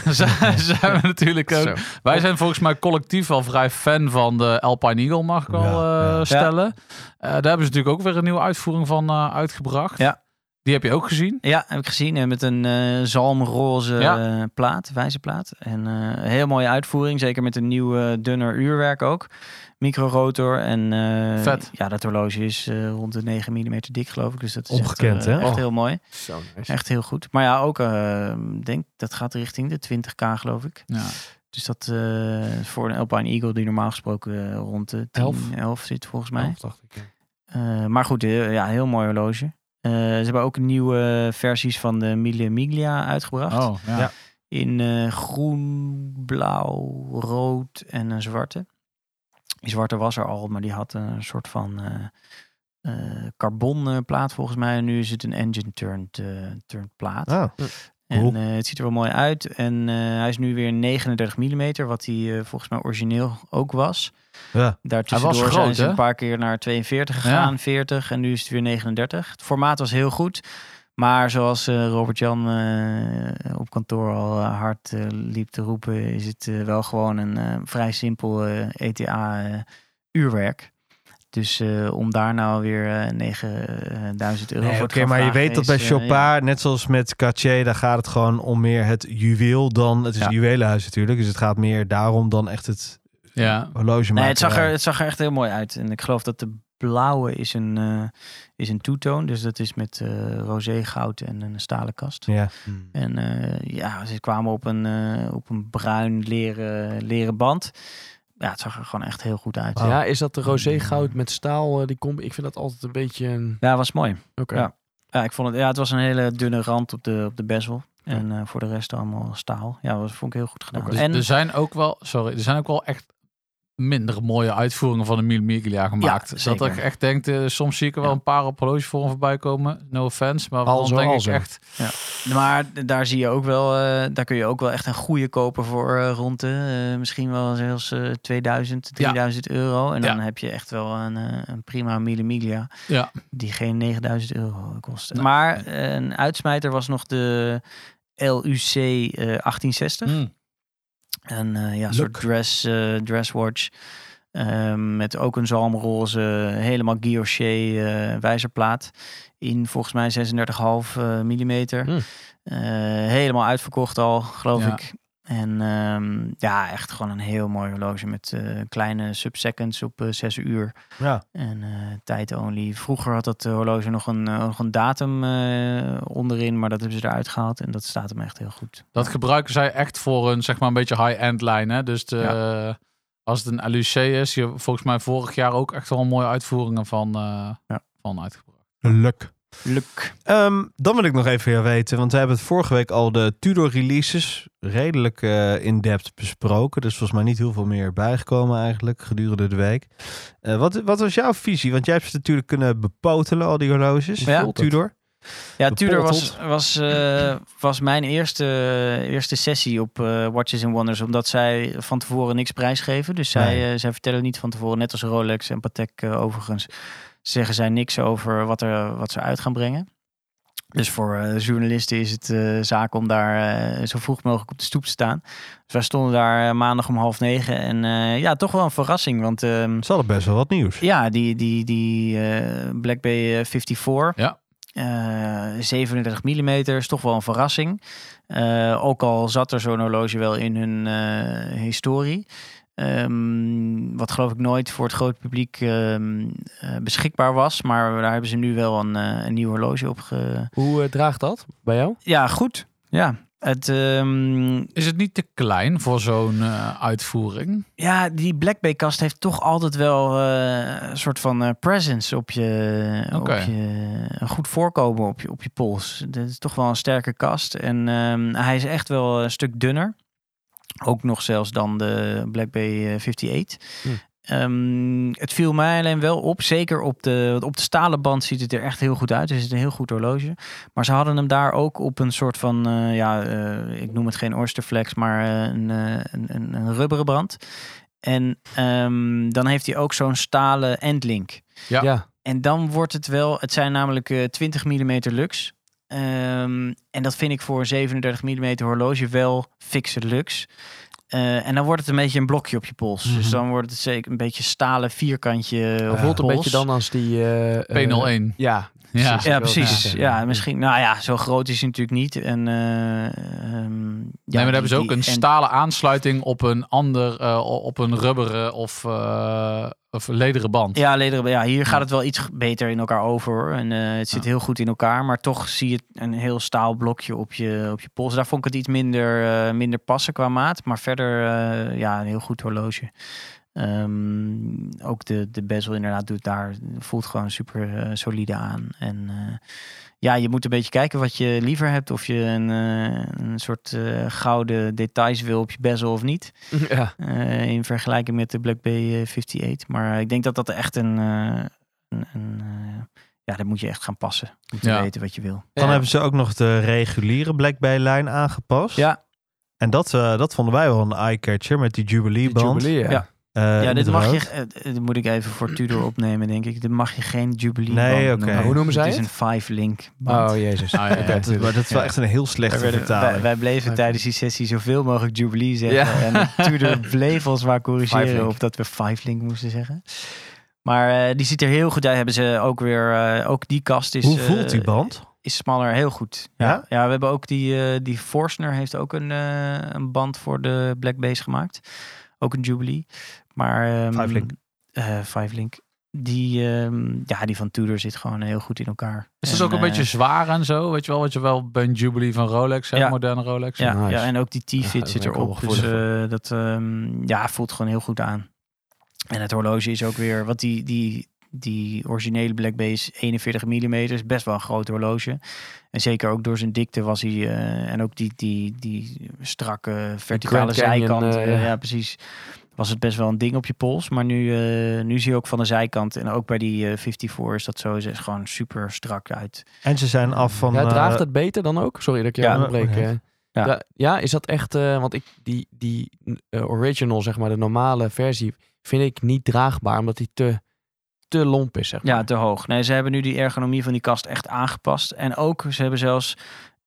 zijn zijn we natuurlijk ook.
zo.
Wij zijn volgens mij collectief al vrij fan van de Alpine Eagle, mag ik al
Ja,
eh,
ja.
stellen. Eh, daar hebben ze natuurlijk ook weer een nieuwe uitvoering van eh, uitgebracht.
Ja.
Die heb je ook gezien.
Ja, heb ik gezien. eh, Met een eh, zalmroze
Ja.
eh, plaat, wijzerplaat. En eh, een heel mooie uitvoering. Zeker met een nieuw eh, dunner uurwerk ook. Microrotor. En eh,
Vet.
ja, dat horloge is eh, rond de 9 mm dik geloof ik. Dus dat is
Ongekend,
echt, eh,
hè?
echt
Oh.
heel mooi.
Zo nice.
Echt heel goed. Maar ja, ook eh, denk dat gaat richting de 20k geloof ik.
Ja.
Dus dat eh, voor een Alpine Eagle die normaal gesproken eh, rond de 10, 11,
Elf.
zit volgens mij.
Elf, dacht ik, ja.
Eh, maar goed, eh, ja, heel mooi horloge. Eh, ze hebben ook nieuwe versies van de Mille Miglia uitgebracht.
Oh, ja.
Ja.
In eh, groen, blauw, rood en een zwarte. Die zwarte was er al, maar die had een soort van eh, eh, carbon eh, plaat volgens mij. En nu is het een engine turned, eh, turned plaat.
Ah,
En
Cool.
eh, het ziet er wel mooi uit. En eh, hij is nu weer 39 mm, wat hij eh, volgens mij origineel ook was.
ja.
Daartussendoor
Hij was
zijn
groot,
ze
hè?
een paar keer naar 42 gegaan, 40 en nu is het weer 39. Het formaat was heel goed. Maar zoals eh, Robert-Jan eh, op kantoor al eh, hard eh, liep te roepen, is het eh, wel gewoon een eh, vrij simpel eh, ETA eh, uurwerk. Dus eh, om daar nou weer eh, 9000 euro
Nee,
voor
Oké,
te gaan
maar je
vragen
weet dat
is,
bij
eh,
Chopin,
ja.
net zoals met Cartier, daar gaat het gewoon om meer het juweel dan... Het is
Ja.
een juwelenhuis natuurlijk, dus het gaat meer daarom dan echt het
Ja.
horloge
Nee, het zag, er, het zag er echt heel mooi uit. En ik geloof dat de blauwe is een, eh is een toetoon. Dus dat is met eh roze goud en een stalen kast.
Ja,
En eh, ja, ze kwamen op een, eh, op een bruin leren, leren band. Ja, het zag er gewoon echt heel goed uit.
Wauw.
Ja, is dat de roze goud met staal? eh, die combi? Ik vind dat altijd een beetje... een-
Ja, was mooi.
Oké.
Ja. Ja, ik vond het, ja, het was een hele dunne rand op de, op de bezel. En eh, voor de rest allemaal staal. Ja, dat vond ik heel goed gedaan.
Dus
en,
er zijn ook wel, sorry, er zijn ook wel echt minder mooie uitvoeringen van de Mille Miglia gemaakt.
zeker.
dat ik echt denk, eh, soms zie ik er wel
Ja.
een paar op horlogevorm voorbij komen. No offense, maar
Al
dan
zo,
denk
al
ik
zo.
echt...
Maar d- daar zie je ook wel, eh, daar kun je ook wel echt een goede kopen voor eh, rond de, eh, misschien wel zelfs eh 2000, 3000 euro. En dan
Ja.
heb je echt wel een, eh, een prima Mille Miglia
Ja,
die geen 9000 euro kost.
Nee.
Maar eh, een uitsmijter was nog de LUC eh, 1860. Een eh, ja, soort dress, eh, dresswatch. eh, met ook een zalmroze, helemaal guilloché eh, wijzerplaat. In volgens mij 36,5 millimeter.
Hmm.
Eh, helemaal uitverkocht al, geloof
Ja.
ik. En ehm, ja, echt gewoon een heel mooi horloge met eh, kleine subseconds op eh, 6 uur.
Ja.
En eh, tijd only. Vroeger had dat horloge nog een, eh, nog een datum eh, onderin, maar dat hebben ze eruit gehaald. En dat staat hem echt heel goed.
dat gebruiken zij echt voor een, zeg maar, een beetje high-end lijn. Hè? Dus de, als het een LUC is, je hebt volgens mij vorig jaar ook echt wel mooie uitvoeringen van, eh,
Ja.
van uitgebracht.
Luk.
Luk.
Ehm, dan wil ik nog even weer weten, want we hebben het vorige week al de Tudor releases redelijk eh, in-depth besproken. Dus volgens mij niet heel veel meer bijgekomen eigenlijk gedurende de week. Eh, wat, wat was jouw visie? Want jij hebt ze natuurlijk kunnen bepotelen, al die horloges.
Ja.
Tudor.
Ja,
Bepoteld.
Tudor was, was, eh, was mijn eerste, eerste sessie op eh, Watches and Wonders. Omdat zij van tevoren niks prijsgeven. Dus zij,
Nee.
eh, zij vertellen niet van tevoren, net als Rolex en Patek eh, overigens, zeggen zij niks over wat, er, wat ze uit gaan brengen. Dus voor eh, journalisten is het eh, zaak om daar eh, zo vroeg mogelijk op de stoep te staan. Dus wij stonden daar eh, maandag om half negen. En eh, ja, toch wel een verrassing. Want ehm,
Ze hadden best wel wat nieuws.
ja, die, die, die eh, Black Bay eh, 54.
Ja.
Eh, 37 mm is toch wel een verrassing. Eh, ook al zat er zo'n horloge wel in hun eh, historie. Ehm, wat geloof ik nooit voor het grote publiek ehm, eh, beschikbaar was. Maar daar hebben ze nu wel een, eh, een nieuw horloge op ge...
Hoe eh, draagt dat bij jou?
Ja, goed. Ja, het, ehm,
Is het niet te klein voor zo'n eh, uitvoering?
Ja, die Black Bay kast heeft toch altijd wel eh, een soort van eh, presence op je,
Oké.
op je, een goed voorkomen op je, op je pols. Dit is toch wel een sterke kast en ehm, hij is echt wel een stuk dunner. Ook nog zelfs dan de Black Bay eh, 58.
Hm.
Ehm, het viel mij alleen wel op, zeker op de, want op de stalen band ziet het er echt heel goed uit. Dus het is een heel goed horloge. Maar ze hadden hem daar ook op een soort van, eh, ja, eh, ik noem het geen Oysterflex, maar eh, een, eh, een, een, een rubberen brand. En ehm, dan heeft hij ook zo'n stalen endlink.
Ja.
En dan wordt het wel, het zijn namelijk eh, 20 mm lux. Ehm, en dat vind ik voor een 37 mm horloge wel fikse lux. Eh, en dan wordt het een beetje een blokje op je pols. Dus
Mhm.
dan wordt het zeker een beetje stalen vierkantje op
Het
je
voelt
pols.
een beetje dan als die... eh, eh,
P01.
ja.
Ja.
Ja,
Ik wil het
precies.
zeggen.
Ja, misschien. Nou ja, zo groot is hij natuurlijk niet. En, eh, ehm, ja,
Ja,
die-
nee, maar dan hebben ze ook
die-
een
en-
stalen aansluiting op een ander, eh, op een rubberen of, eh, of lederen band.
Ja, lederen, ja, hier gaat het wel iets beter in elkaar over. hoor. En eh, het zit heel goed in elkaar. Maar toch zie je een heel staal blokje op je, op je pols. Daar vond ik het iets minder, eh, minder passen qua maat. Maar verder, eh, ja, een heel goed horloge. Ehm, ook de, de bezel inderdaad doet daar, voelt gewoon super eh, solide aan. En eh, ja, je moet een beetje kijken wat je liever hebt. Of je een, eh, een soort eh, gouden details wil op je bezel of niet.
ja.
Eh, in vergelijking met de Black Bay eh, 58. Maar ik denk dat dat echt een. eh, een, een, eh, ja, dat moet je echt gaan passen. Om te
Ja.
weten wat je wil.
Dan hebben ze ook nog de reguliere Black Bay lijn aangepast.
Ja.
En dat, eh, dat vonden wij wel een eye-catcher met die
Die
Jubilee band.
jubilee, ja.
Ja. ja, dit mag je.
echt.
eh, dit moet ik even voor Tudor opnemen, denk ik. Dit mag je geen Jubilee.
Nee,
band
oké.
noemen.
Hoe noemen zij
Het is
het?
een Five Link. band.
Oh, jezus.
Ah, ja, ja.
Oké.
Maar dat is wel echt een heel slechte
Wij- wij,
vertaling.
wij bleven tijdens die sessie zoveel mogelijk Jubilee zeggen. En Tudor bleef ons maar
Five
corrigeren
Link.
of dat we Five Link moesten zeggen. Maar eh, die ziet er heel goed uit. Hebben ze ook weer. eh, ook die kast is.
Hoe voelt
eh,
die band?
is smaller heel goed.
Ja?
Ja, we hebben ook die, eh, die Forstner heeft ook een, eh, een band voor de Black Base gemaakt. Ook een Jubilee. Maar, ehm,
Five Link.
eh, Five Link. Die, ehm, ja, die van Tudor zit gewoon heel goed in elkaar.
Is het
En,
ook een
eh,
beetje zwaar en zo? Weet je wel, wat je wel bij een Jubilee van Rolex hebt,
Ja.
moderne Rolex.
ja,
Nice.
ja, en ook die T-fit
Ja, daar
zit
ben ik
erop.
wel
Dus
gevoelig
eh, dat ehm, ja, voelt gewoon heel goed aan. En het horloge is ook weer, wat die, die, die originele Black Base 41 mm is best wel een groot horloge. En zeker ook door zijn dikte was hij, eh, en ook die, die, die strakke verticale
Grand Canyon,
zijkant.
eh,
eh,
ja.
ja, precies. was het best wel een ding op je pols. Maar nu, eh, nu zie je ook van de zijkant en ook bij die eh 54 is dat zo. Ze is gewoon super strak uit.
En ze zijn af van...
ja, draagt
eh,
het beter dan ook? Sorry dat ik je
Ja,
onderbreek.
maar-
eh.
Ja.
Ja. Ja, is dat echt... eh, want ik, die, die eh, original, zeg maar, de normale versie... vind ik niet draagbaar, omdat die te, te lomp is, zeg maar.
Ja, te hoog. Nee, ze hebben nu die ergonomie van die kast echt aangepast. En ook, ze hebben zelfs,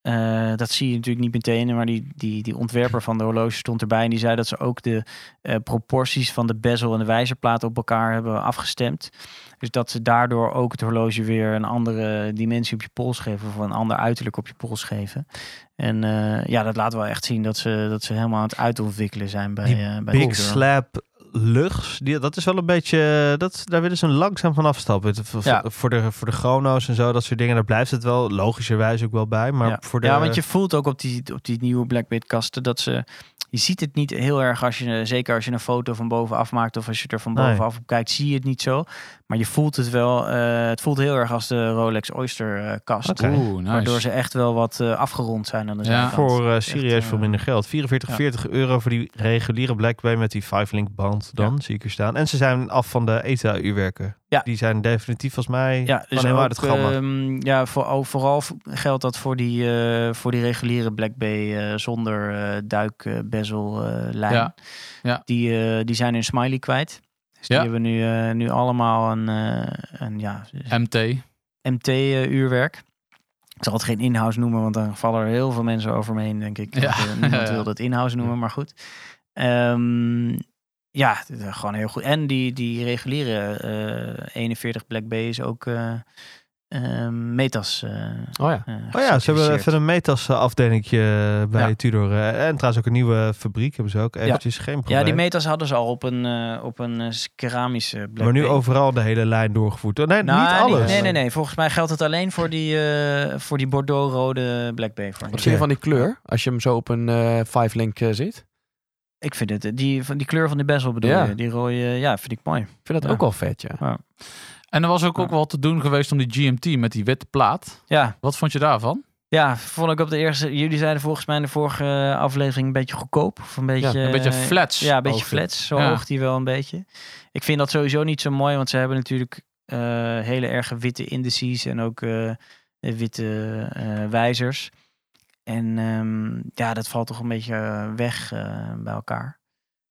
eh, dat zie je natuurlijk niet meteen, maar die, die, die ontwerper van de horloge stond erbij en die zei dat ze ook de eh, proporties van de bezel en de wijzerplaat op elkaar hebben afgestemd. Dus dat ze daardoor ook het horloge weer een andere dimensie op je pols geven of een ander uiterlijk op je pols geven. En eh, ja, dat laat wel echt zien dat ze, dat ze helemaal aan het uitontwikkelen zijn bij,
Die
eh, bij
Big
Tudor.
Slap Lugs, die, dat is wel een beetje, dat, daar willen ze langzaam van afstappen. Het- Voor,
Ja.
voor, de, voor de chrono's en zo, dat soort dingen, daar blijft het wel logischerwijs ook wel bij. Maar
ja.
voor de...
ja, want je voelt ook op die, op die nieuwe Blackbit kasten dat ze... Je ziet het niet heel erg als je, zeker als je een foto van bovenaf maakt of als je er van
Nee.
bovenaf op kijkt, zie je het niet zo. Maar je voelt het wel, eh, het voelt heel erg als de Rolex Oyster eh, kast.
Oké.
Oeh, nice.
Waardoor ze echt wel wat eh, afgerond zijn aan de
Ja.
zijkant.
voor eh,
Echt,
serieus
eh,
veel minder geld. 44,
ja.
40 euro voor die reguliere Blackberry met die 5-link band dan, zie ik er staan. En ze zijn af van de ETA-uurwerken.
Ja.
Die zijn definitief volgens mij
Ja,
van
dus
heel eh, oh uit
ook,
het gamma.
ehm, ja voor, ook vooral v- geldt dat voor die, eh, voor die reguliere Black Bay eh, zonder duikbezel eh, lijn.
Ja, ja.
Die, eh, die zijn hun smiley kwijt.
Ja.
Dus die hebben nu, eh, nu allemaal een, eh, een ja,
MT.
MT-uurwerk. ik zal het geen in-house noemen, want dan vallen er heel veel mensen over me heen, denk ik.
Ja.
Want, eh, niemand
Ja.
wil dat in-house noemen, maar goed. Ehm, ja, d- d- gewoon heel goed. En die, die reguliere eh, 41 Black B is ook eh, ehm, metas. eh,
Oh ja.
eh,
Oh ja, ze hebben
gecertificeerd.
even een metas afdelingje bij
Ja.
Tudor. eh, En trouwens ook een nieuwe fabriek hebben ze ook. Eventjes geen probleem.
Ja, die metas hadden ze al op een, eh, op een eh, keramische Black
maar nu
Bay.
overal de hele lijn doorgevoerd. Oh, Nee,
Nou,
niet
nee,
alles.
Nee, nee, nee. Volgens mij geldt het alleen voor die, eh, voor die Bordeaux-rode Black Bay. Voor nu.
Wat vind je van die kleur? Als je hem zo op een eh, 5-link eh, zit.
Ik vind het, eh, die, van die kleur van die bezel bedoel
Ja.
je, die rode, ja, vind ik mooi.
Ik vind dat
Ja.
ook wel vet, ja.
En er was ook,
Ja.
ook wel te doen geweest om die GMT met die witte plaat.
Ja,
Wat vond je daarvan?
ja, vond ik op de eerste, jullie zeiden volgens mij in de vorige eh, aflevering een beetje goedkoop. Of een beetje,
Een beetje
eh,
flats.
Ja, een beetje
oogje.
flats. Zo
Ja.
hoog die wel een beetje. Ik vind dat sowieso niet zo mooi, want ze hebben natuurlijk eh, hele erge witte indices en ook eh, witte eh, wijzers. En ehm, ja, dat valt toch een beetje eh, weg eh, bij elkaar.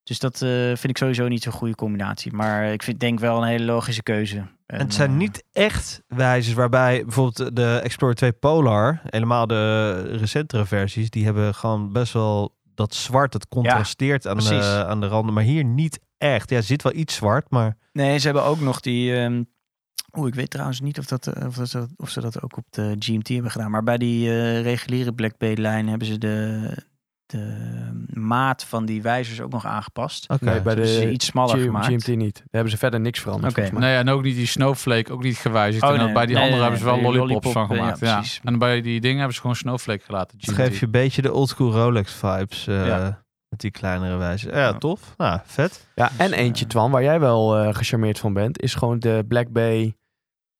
Dus dat eh, vind ik sowieso niet zo'n goede combinatie. Maar ik vind, denk wel een hele logische keuze.
En het zijn
eh,
niet echt wijzers waarbij bijvoorbeeld de Explorer 2 Polar, helemaal de recentere versies, die hebben gewoon best wel dat zwart, dat contrasteert aan,
precies.
de, aan de randen. Maar hier niet echt. Ja, er zit wel iets zwart, maar
Nee, ze hebben ook nog die. ehm Oeh, ik weet trouwens niet of, dat, eh, of, dat, ze- of ze dat ook op de GMT hebben gedaan. Maar bij die eh, reguliere Black Bay-lijn hebben ze de, de maat van die wijzers ook nog aangepast.
oké.
Nee, bij
Ze hebben ze
de
iets smaller
G-
gemaakt.
GMT niet. Daar hebben ze verder niks veranderd.
Oké.
volgens mij.
Nee, en ook niet die Snowflake, ook niet gewijzigd.
Oh,
En dan
nee,
bij die
nee,
andere
nee,
hebben ze
nee,
wel
bij die
lollipops van
lollipop, eh, ja,
gemaakt. Ja,
precies.
En bij die dingen hebben ze gewoon Snowflake gelaten.
Het
GMT.
geeft je een beetje de oldschool Rolex vibes eh,
Ja.
met die kleinere wijzers. Ja,
Ja.
tof. Nou, vet.
Ja, en
eh,
eentje, Twan, waar jij wel eh, gecharmeerd van bent, is gewoon de Black Bay.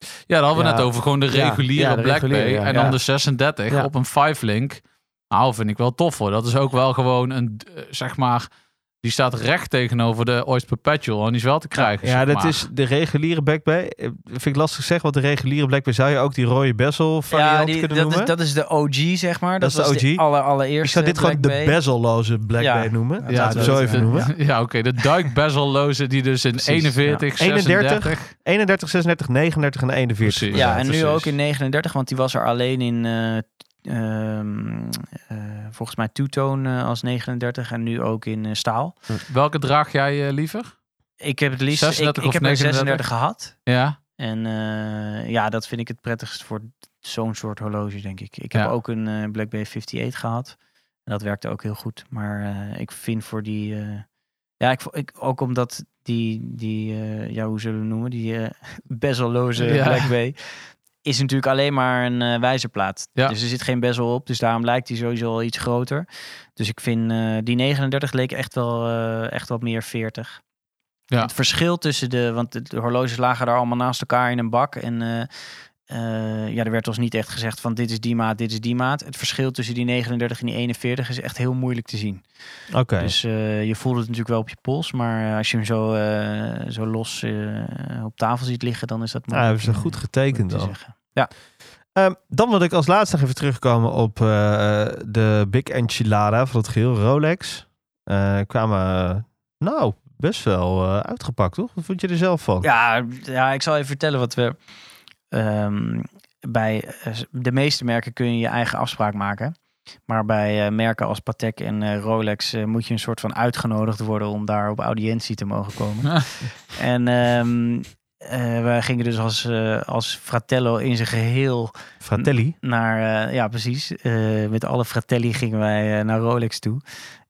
Ja, daar hadden we
Ja.
net over. Gewoon de
Ja,
reguliere
ja, de
Black
reguliere,
Bay.
ja.
En dan
Ja.
de 36
Ja.
op een 5-link. Nou, vind ik wel tof hoor. Dat is ook wel gewoon een, eh, zeg maar... Die staat recht tegenover de Oyster Perpetual. En die is wel te krijgen,
Ja,
zeg
dat
maar.
is de reguliere Black Bay. Eh, Vind ik lastig zeggen, want de reguliere Black Bay zou je ook die rode bezel variant
Ja, die,
kunnen
dat, is,
noemen.
dat is de OG, zeg
Dat
maar. Dat,
is de
was
OG.
de aller, allereerste.
ik zou dit gewoon
Black
de
Bay.
bezelloze Black
Ja.
Bay noemen.
Nou,
Ja,
Ja,
laten
dat
we
zo
het,
even
eh,
noemen.
Ja, oké. de duikbezelloze die dus in
Precies,
41,
31,
36...
31, 36, 39 en 41.
Precies.
Ja,
inderdaad.
en nu
precies.
ook in 39, want die was er alleen in. eh, ehm, eh, volgens mij two-tone eh, als 39 en nu ook in eh, staal.
Welke draag jij eh, liever?
Ik heb het liefst
36
ik, ik
of
heb er
39?
36 gehad.
Ja.
En eh, ja, dat vind ik het prettigst voor zo'n soort horloge, denk ik. Ik heb
Ja.
ook een eh, Black Bay 58 gehad. En dat werkte ook heel goed. Maar eh, ik vind voor die... eh, ja, ik, vo- ik, ook omdat die, die eh, ja, hoe zullen we het noemen? Die eh bezelloze
Ja.
Black Bay is natuurlijk alleen maar een eh, wijzerplaat.
Ja.
Dus er zit geen bezel op. Dus daarom lijkt die sowieso al iets groter. Dus ik vind eh, die 39 leek echt wel, eh, echt wat meer 40.
Ja.
Het verschil tussen de, want de, de horloges lagen daar allemaal naast elkaar in een bak. En eh, eh, ja, er werd ons niet echt gezegd van dit is die maat, dit is die maat. Het verschil tussen die 39 en die 41 is echt heel moeilijk te zien.
Oké.
Dus eh, je voelt het natuurlijk wel op je pols, maar eh, als je hem zo, eh, zo los eh, op tafel ziet liggen, dan is dat
nou, hebben ze
om,
goed
eh,
getekend
te
dan.
zeggen.
Ehm, dan wil ik als laatste nog even terugkomen op eh, de Big Enchilada van het geheel Rolex. Eh, kwamen, eh, nou, best wel eh, uitgepakt, toch? Wat vond je er zelf van?
Ja, ja, ik zal even vertellen wat we. ehm, bij eh, de meeste merken kun je je eigen afspraak maken. Maar bij eh, merken als Patek en eh, Rolex eh, moet je een soort van uitgenodigd worden om daar op audiëntie te mogen komen. en ehm, eh, wij gingen dus als, eh, als Fratello in zijn geheel
Fratelli.
naar, eh, ja precies, Eh, met alle Fratelli gingen wij eh, naar Rolex toe.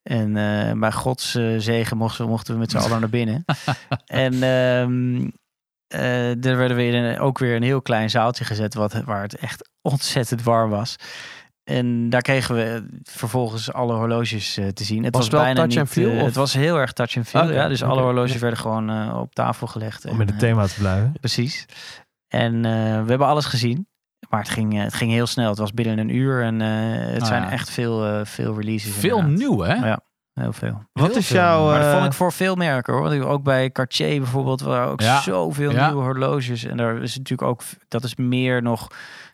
En eh, bij Gods eh, zegen mochten we, mochten we met z'n allen naar binnen. en ehm, eh, daar werden we in een- ook weer een heel klein zaaltje gezet, wat, waar het echt ontzettend warm was. En daar kregen we eh, vervolgens alle horloges eh, te zien. Het
Was
was,
het wel
bijna
touch
niet,
and feel,
eh,
of?
het was heel erg touch and feel.
Oké,
ja. Dus alle
oké.
horloges werden gewoon eh, op tafel gelegd.
Om in
En,
het
eh,
thema te blijven.
Precies. En eh, we hebben alles gezien. Maar het ging, eh, het ging heel snel. Het was binnen een uur. En eh, het
Ah,
zijn
ja.
echt veel, eh, veel releases.
Veel
inderdaad.
nieuw, hè?
Ja. Heel veel.
Wat is jouw...
Maar dat vond
eh,
ik voor veel merken hoor. Want ik- ook bij Cartier bijvoorbeeld waren ook
Ja.
zoveel
Ja.
nieuwe horloges. En daar is natuurlijk ook, dat is meer nog,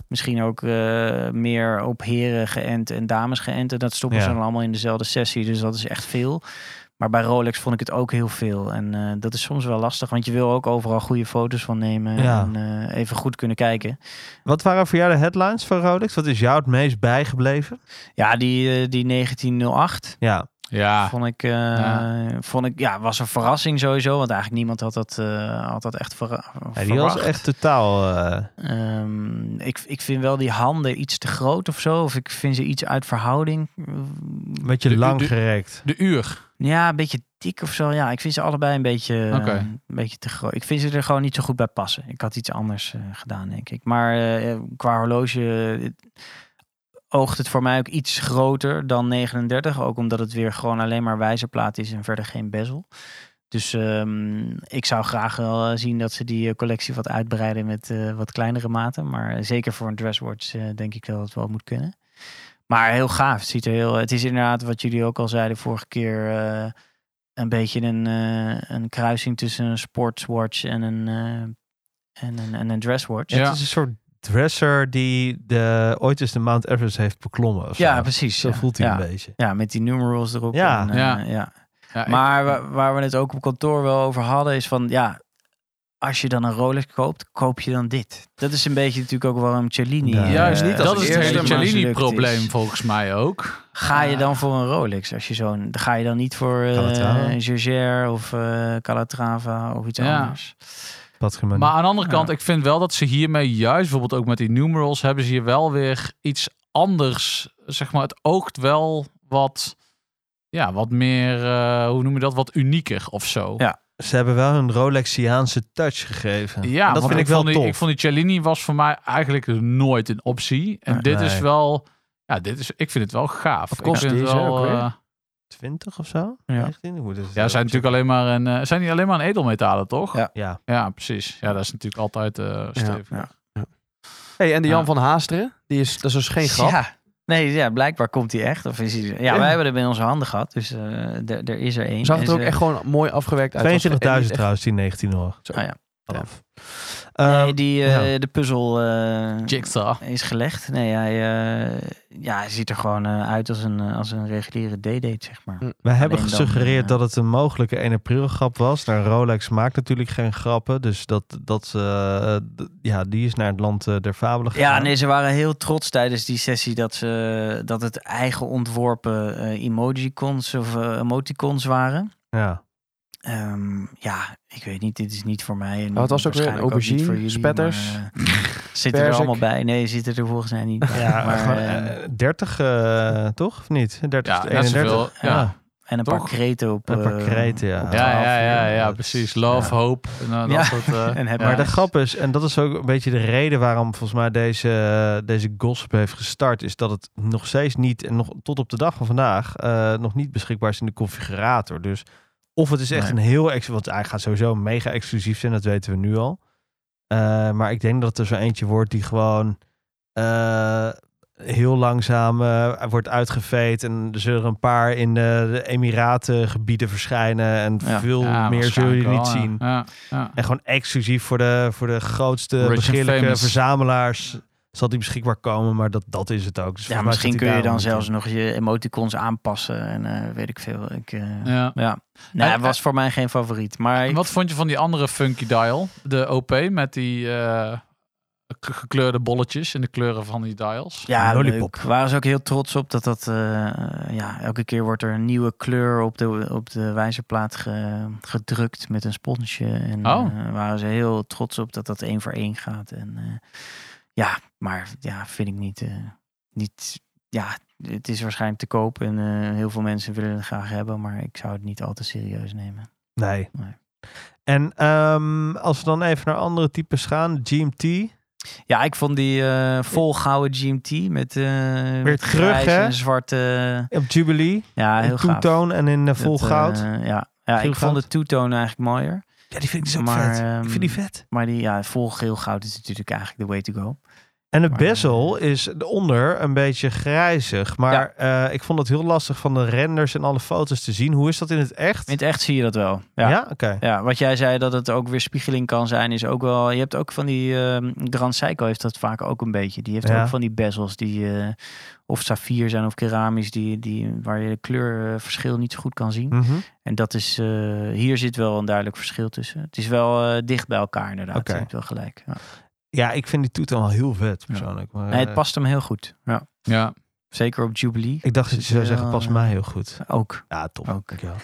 misschien ook eh, meer op heren geënt en dames geënt. En dat stoppen
Ja.
ze dan allemaal in dezelfde sessie. Dus dat is echt veel. Maar bij Rolex vond ik het ook heel veel. En eh, dat is soms wel lastig, want je wil ook overal goede foto's van nemen.
Ja.
En eh, even goed kunnen kijken.
Wat waren voor jou de headlines van Rolex? Wat is jou het meest bijgebleven?
Ja, die, eh, die 1908
Ja, Ah.
Ja.
vond ik, eh,
Ja.
vond ik, ja, was een verrassing sowieso. Want eigenlijk niemand had dat, eh, had dat echt verra-
ja die
verwacht.
was echt totaal... eh,
Ehm, ik, ik vind wel die handen iets te groot of zo. Of ik vind ze iets uit verhouding.
een beetje
De- de-
lang gerekt.
De uur.
Ja, een beetje dik of zo. Ja, ik vind ze allebei een beetje, eh,
Oké.
een beetje te groot. Ik vind ze er gewoon niet zo goed bij passen. Ik had iets anders eh, gedaan, denk ik. Maar eh, qua horloge eh, oogt het voor mij ook iets groter dan 39. Ook omdat het weer gewoon alleen maar wijzerplaat is en verder geen bezel. Dus ehm, ik zou graag wel eh, zien dat ze die eh, collectie wat uitbreiden met eh, wat kleinere maten. Maar eh, zeker voor een dresswatch eh, denk ik dat het wel moet kunnen. Maar heel gaaf. Het, ziet er heel, het is inderdaad wat jullie ook al zeiden vorige keer. eh, een beetje een, eh, een kruising tussen een sportswatch en een, eh, en een, en een dresswatch.
Ja.
Het is een soort dresser die de, ooit eens de Mount Everest heeft beklommen. of zo.
Ja, precies.
Zo
ja.
voelt hij
ja.
een beetje.
Ja, met die numerals erop.
Ja.
en, eh,
Ja.
ja.
Ja, ik-
Maar wa- waar we het ook op kantoor wel over hadden, is van ja, als je dan een Rolex koopt, koop je dan dit. Dat is een beetje natuurlijk ook waarom Cellini.
Ja.
eh,
Juist niet.
als
Dat is het
eerste
hele
mislukt
Cellini-probleem
is.
volgens mij ook.
Ga je dan voor een Rolex? Als je zo'n, ga je dan niet voor eh
Calatrava.
een Jaeger of eh Calatrava of iets
Ja.
anders?
Wat gemeen.
Maar aan de andere
Ja.
kant, ik vind wel dat ze hiermee juist, bijvoorbeeld ook met die numerals, hebben ze hier wel weer iets anders. Zeg maar, het oogt wel wat, ja, wat meer, eh, hoe noem je dat, wat unieker of zo.
Ja.
Ze hebben wel een Rolexiaanse touch gegeven.
Ja,
En dat
want
vind ik wel
vond die,
tof.
Ik vond die Cellini was voor mij eigenlijk nooit een optie. En
Nee.
dit is
Nee.
wel, ja, dit is, ik vind het wel gaaf.
Wat kost
ik vind het
deze ook
wel,
weer?
eh,
20 of zo?
Ja.
19? Hoe is het
ja,
ook?
zijn natuurlijk alleen maar een, eh, zijn die alleen maar een edelmetalen, toch?
Ja.
Ja.
Ja, precies. Ja, dat is natuurlijk altijd eh stevig.
ja.
Hey, en de Jan
Ja.
van Haasteren, die is, dat is dus geen grap.
Ja. Nee, ja, blijkbaar komt hij echt. Of is hij, ja, wij hebben hem in onze handen gehad, dus eh, d- er is er één.
Zag het
En
er ook
ze-
echt gewoon mooi afgewerkt uit.
22.000
En niet echt-
trouwens, die 19 hoor.
Zo.
Ah, ja.
Ja.
Af.
Nee,
Ehm,
die, eh, de puzzel eh,
Jigsaw.
is gelegd. Nee, hij, eh, ja, hij ziet er gewoon eh, uit als een, eh, als een reguliere D-date, zeg maar.
we hebben
alleen dan,
gesuggereerd
eh,
dat het een mogelijke 1 april grap was. Nou, Rolex maakt natuurlijk geen grappen. Dus dat, dat, eh, d- ja, die is naar het land eh, der fabelen gegaan.
Ja, nee, ze waren heel trots tijdens die sessie dat, ze, dat het eigen ontworpen eh emojicons of eh, emoticons waren.
Ja.
Ehm, ja, ik weet niet, dit is niet voor mij. En
Wat was het ook weer?
waarschijnlijk ook niet
Aubergine,
voor jullie,
spetters,
maar, eh, zitten er
perzik.
allemaal bij? Nee, zitten er volgens mij niet bij.
Ja,
Maar,
gewoon,
eh,
eh, 30 eh, toch? Of niet? 30
Ja,
tot
net
31.
zoveel. Ja.
en een
toch?
paar kreten op.
Een paar
eh,
kreten, ja.
op
Ja, ja,
12
ja,
uur.
ja,
dat is-
precies. Love,
ja.
hope. En, eh, dat
Ja.
soort, eh,
En happy
Maar de
eyes.
grap is, en dat is ook een beetje de reden waarom volgens mij deze, eh, deze gossip heeft gestart, is dat het nog steeds niet, en nog tot op de dag van vandaag, eh, nog niet beschikbaar is in de configurator. Dus of het is echt
Nee.
een heel, ex want hij gaat sowieso mega exclusief zijn, dat weten we nu al. Eh, maar ik denk dat er zo eentje wordt die gewoon eh, heel langzaam eh, wordt uitgeveed. En er zullen er een paar in de, de Emiraten gebieden verschijnen. En
Ja.
veel
Ja,
meer zul je
waarschijnlijk
niet
wel, ja.
zien.
Ja, ja.
En gewoon exclusief voor de, voor de grootste
Rich and
begeerlijke
famous.
verzamelaars zal die beschikbaar komen. Maar dat, dat is het ook. Dus volgens
Ja,
mij
misschien
zit
kun
hij
je dan
daarom
zelfs
in.
nog je emoticons aanpassen en eh, weet ik veel. Ik, eh, ja.
Ja.
Nou,
En-
het was voor mij geen favoriet. Maar
En wat vond je van die andere Funky Dial? De OP met die eh, k- gekleurde bolletjes in de kleuren van die dials.
ja,
Lollipop.
leuk. Waren ze ook heel trots op dat dat... eh, ja, elke keer wordt er een nieuwe kleur op de, op de wijzerplaat ge- gedrukt met een sponsje. En
Oh.
eh, waren ze heel trots op dat dat één voor één gaat. En, eh, ja, maar ja, vind ik niet... eh, niet ja, het is waarschijnlijk te koop en eh, heel veel mensen willen het graag hebben. Maar ik zou het niet al te serieus nemen.
Nee.
Nee.
En ehm, als we dan even naar andere types gaan. GMT.
Ja, ik vond die eh volgehouden GMT met, eh met
terug,
grijs
hè?
en zwarte.
Op Jubilee.
ja, heel
in
gaaf.
two-tone en in eh,
Dat,
vol goud.
eh, ja, ja
Geel
ik vond
goud.
de two-tone eigenlijk mooier.
ja, die vind ik zo
maar,
vet. ik vind die
ehm,
vet.
Maar die ja, vol geel goud is natuurlijk eigenlijk the way to go.
En het
maar, eh,
bezel is onder een beetje grijzig. Maar eh, ik vond het heel lastig van de renders en alle foto's te zien. Hoe is dat in het echt?
In het echt zie je dat wel.
ja,
Ja.
oké.
Ja, wat jij zei dat het ook weer spiegeling kan zijn, is ook wel. Je hebt ook van die ehm Grand Seiko heeft dat vaak ook een beetje. Die heeft
Ja.
ook van die bezels die eh, of saffier zijn of keramisch, die, die, waar je de kleurverschil niet zo goed kan zien.
Mhm.
En dat is, eh, hier zit wel een duidelijk verschil tussen. Het is wel eh, dicht bij elkaar inderdaad.
Oké.
Je hebt wel gelijk. Ja.
Ja, ik vind die toetan wel heel vet persoonlijk. Maar,
Nee,
eh,
het past hem heel goed. Ja.
Ja.
Zeker op Jubilee.
Ik dacht dat je zou zeggen,
Ja.
past mij heel goed.
Ook.
Ja, top.
Ook.
Dankjewel.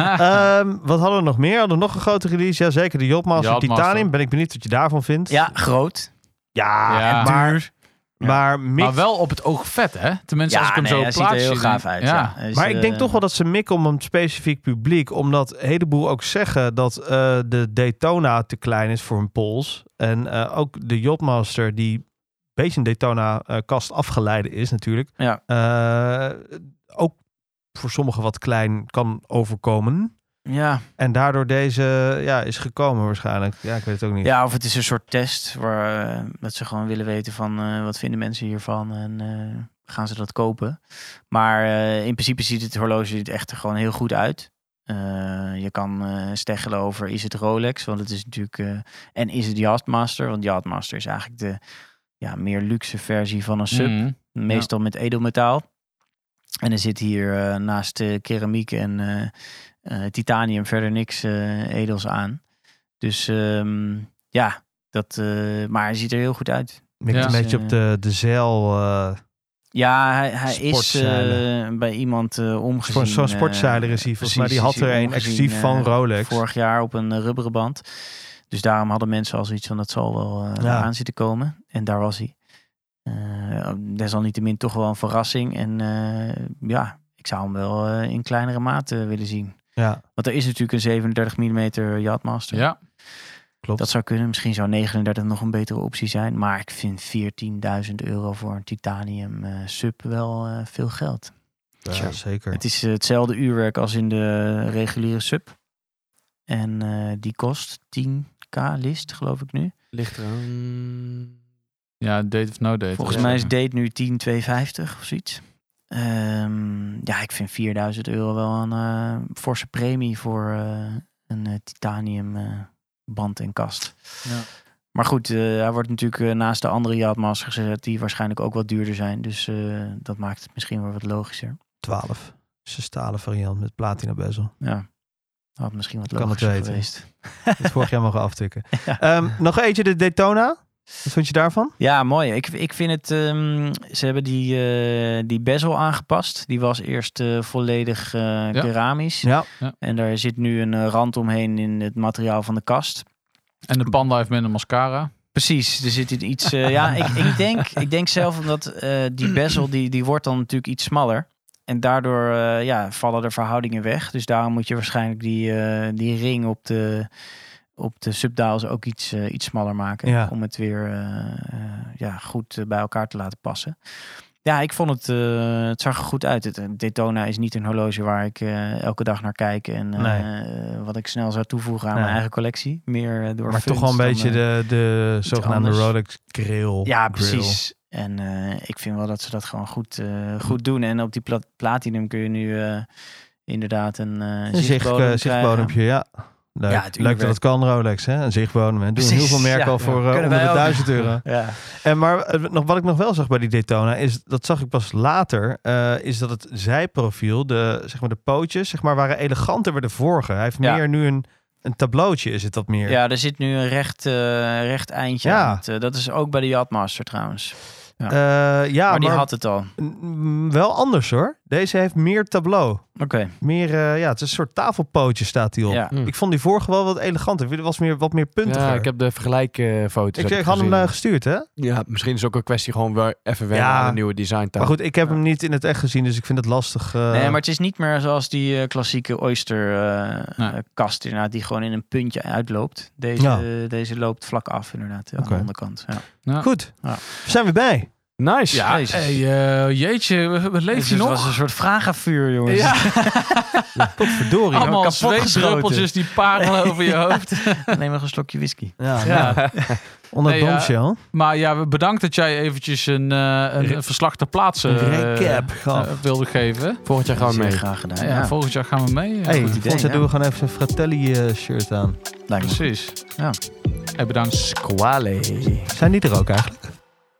Ehm, wat hadden we nog meer? Hadden we nog een grote release? Jazeker, de Jobmaster
Yachtmaster.
Titanium. Ben ik benieuwd wat je daarvan vindt.
Ja, groot.
ja,
Ja.
maar, maar, mix-
Maar wel op het oog vet, hè? Tenminste,
ja,
als ik hem
nee,
zo
hij
plaats
ziet er heel
zie,
gaaf
dan-
uit.
Ja.
Ja. Hij is,
Maar ik denk
eh,
toch wel dat ze mikken om een specifiek publiek. Omdat een heleboel ook zeggen dat eh, de Daytona te klein is voor een pols. En eh, ook de Jobmaster, die een beetje een Daytona-kast afgeleide is natuurlijk.
Ja.
eh, ook voor sommigen wat klein kan overkomen.
Ja.
En daardoor deze ja, is gekomen waarschijnlijk. Ja, ik weet het ook niet.
ja, of het is een soort test waar eh, dat ze gewoon willen weten van eh, wat vinden mensen hiervan en eh, gaan ze dat kopen. Maar eh, in principe ziet het horloge er echt gewoon heel goed uit. Eh, je kan eh steggelen over is het Rolex, want het is natuurlijk... eh, en is het Yachtmaster, want Yachtmaster is eigenlijk de ja, meer luxe versie van een sub.
Mm.
Meestal met edelmetaal. En er zit hier eh, naast eh, keramiek en eh, eh, titanium verder niks eh, edels aan. Dus ehm, ja, dat, eh, maar hij ziet er heel goed uit.
Mikt
Ja.
een beetje op de, de zeil. eh,
Ja, hij, hij is
Sportzeilen.
eh, bij iemand eh omgezien.
voor zo'n
eh,
sportzeiler is hij. Volgens mij die
precies,
had
is hij
er een
omgezien,
exclusief van
eh,
Rolex.
Vorig jaar op een eh, rubberen band. Dus daarom hadden mensen al zoiets van dat zal wel eh,
Ja.
aan zitten komen. En daar was hij. Eh, desalniettemin toch wel een verrassing. En eh, ja, ik zou hem wel eh, in kleinere mate willen zien.
Ja,
Want er is natuurlijk een 37 mm Yachtmaster.
Ja.
klopt.
Dat zou kunnen. Misschien zou 39 nog een betere optie zijn. Maar ik vind 14.000 euro voor een titanium eh, sub wel eh, veel geld.
ja, zeker.
Het is eh, hetzelfde uurwerk als in de reguliere sub. En eh, die kost 10k list, geloof ik nu.
Ligt eraan.
ja, date of no date.
Volgens
Ja.
mij is date nu 10,250 of zoiets. Ehm, ja, ik vind 4000 euro wel een eh, forse premie voor eh, een eh, titanium eh, band en kast.
Ja.
Maar goed, eh, hij wordt natuurlijk eh, naast de andere Yachtmasters gezet, die waarschijnlijk ook wat duurder zijn. Dus eh, dat maakt het misschien wel wat logischer.
12. is een stalen variant met platina bezel.
Ja, had misschien wat
Kan het
logischer
weten.
geweest.
Dat vorig jaar mogen aftikken.
Ja.
Ehm, nog eentje, de Daytona. Wat vond je daarvan?
Ja, mooi. Ik, ik vind het. ehm, ze hebben die, eh, die bezel aangepast. Die was eerst eh, volledig eh, keramisch.
Ja.
En daar zit nu een eh, rand omheen in het materiaal van de kast.
En de panda heeft minder mascara.
Precies, er zit in iets. eh, ja, ik, ik, denk, ik denk zelf omdat eh, die bezel die, die wordt dan natuurlijk iets smaller. En daardoor eh, ja, vallen de verhoudingen weg. Dus daarom moet je waarschijnlijk die, eh, die ring op de, op de subdials ook iets, eh, iets smaller maken.
Ja.
Om het weer eh, eh, ja, goed eh, bij elkaar te laten passen. Ja, ik vond het, eh, het zag er goed uit. Het, eh, Daytona is niet een horloge waar ik eh, elke dag naar kijk. En eh, wat ik snel zou toevoegen aan
Nee.
mijn eigen collectie. Meer eh, door
Maar toch wel een
funds dan,
beetje
eh,
de, de zogenaamde
anders.
Rolex grill.
Ja,
grill.
precies. En eh, ik vind wel dat ze dat gewoon goed, eh, goed doen. En op die pla- platinum kun je nu eh, inderdaad een, eh
Een zicht,
zichtbodem
eh,
krijgen.
zichtbodempje, ja. Leuk,
Ja, het
Leuk dat het kan, Rolex. Hè? Een zichtbodem. Hè? Doen
Precies,
heel veel merken
ja.
al voor eh,
Kunnen
onder
wij
de
ook.
1000 euro.
Ja.
En maar eh, nog, wat ik nog wel zag bij die Daytona is, dat zag ik pas later, eh, is dat het zijprofiel, de, zeg maar de pootjes, zeg maar, waren eleganter bij de vorige. Hij heeft
Ja.
meer nu een, een tableautje, is het dat meer?
ja, er zit nu een recht, eh, recht eindje
Ja.
aan. het, eh, dat is ook bij de Yachtmaster trouwens.
Eh, ja,
maar die
maar
had het al.
mm, wel anders hoor. Deze heeft meer tableau.
Oké.
Meer, eh, ja, het is een soort tafelpootje staat die op.
Ja.
Hm.
Ik vond die vorige wel wat eleganter. Er was meer, wat meer puntiger.
Ja, ik heb de vergelijkfoto's.
ik, ik had hem eh, gestuurd, hè?
Ja, misschien is het ook een kwestie gewoon weer even wennen
Ja.
aan een nieuwe design.
Maar goed, ik heb hem niet in het echt gezien, dus ik vind het lastig. eh,
Nee, maar het is niet meer zoals die eh, klassieke oyster eh,
Nee.
eh, kast inderdaad, die gewoon in een puntje uitloopt. Deze, deze loopt vlak af inderdaad, ja, aan
Oké.
de onderkant. Ja.
Goed,
Ja.
we zijn weer bij.
Nice.
Ja,
Jezus.
hey, eh, jeetje, we, we
Dus Het
leven hier
was
nog.
een soort vragenvuur, jongens.
Verdorie.
Allemaal
kapot
zweetdruppeltjes die parelen over je hoofd.
Neem nog een slokje whisky.
Ja,
Ja.
nou, onder het
Nee, ja.
bombshell.
Maar ja, we- bedankt dat jij eventjes een, eh, een, een verslag ter plaatse eh,
Recap gaf.
eh, wilde geven.
Volgend jaar
Dat
gewoon
is heel
mee.
graag gedaan.
Ja, Volgend jaar gaan we mee. eh.
Hey,
Goed idee,
volgens mij
ja.
doen we gewoon even een Fratelli eh, shirt aan.
Lijkt me
Precies.
Ja.
Hey, bedankt.
Kwale.
Zijn die er ook eigenlijk?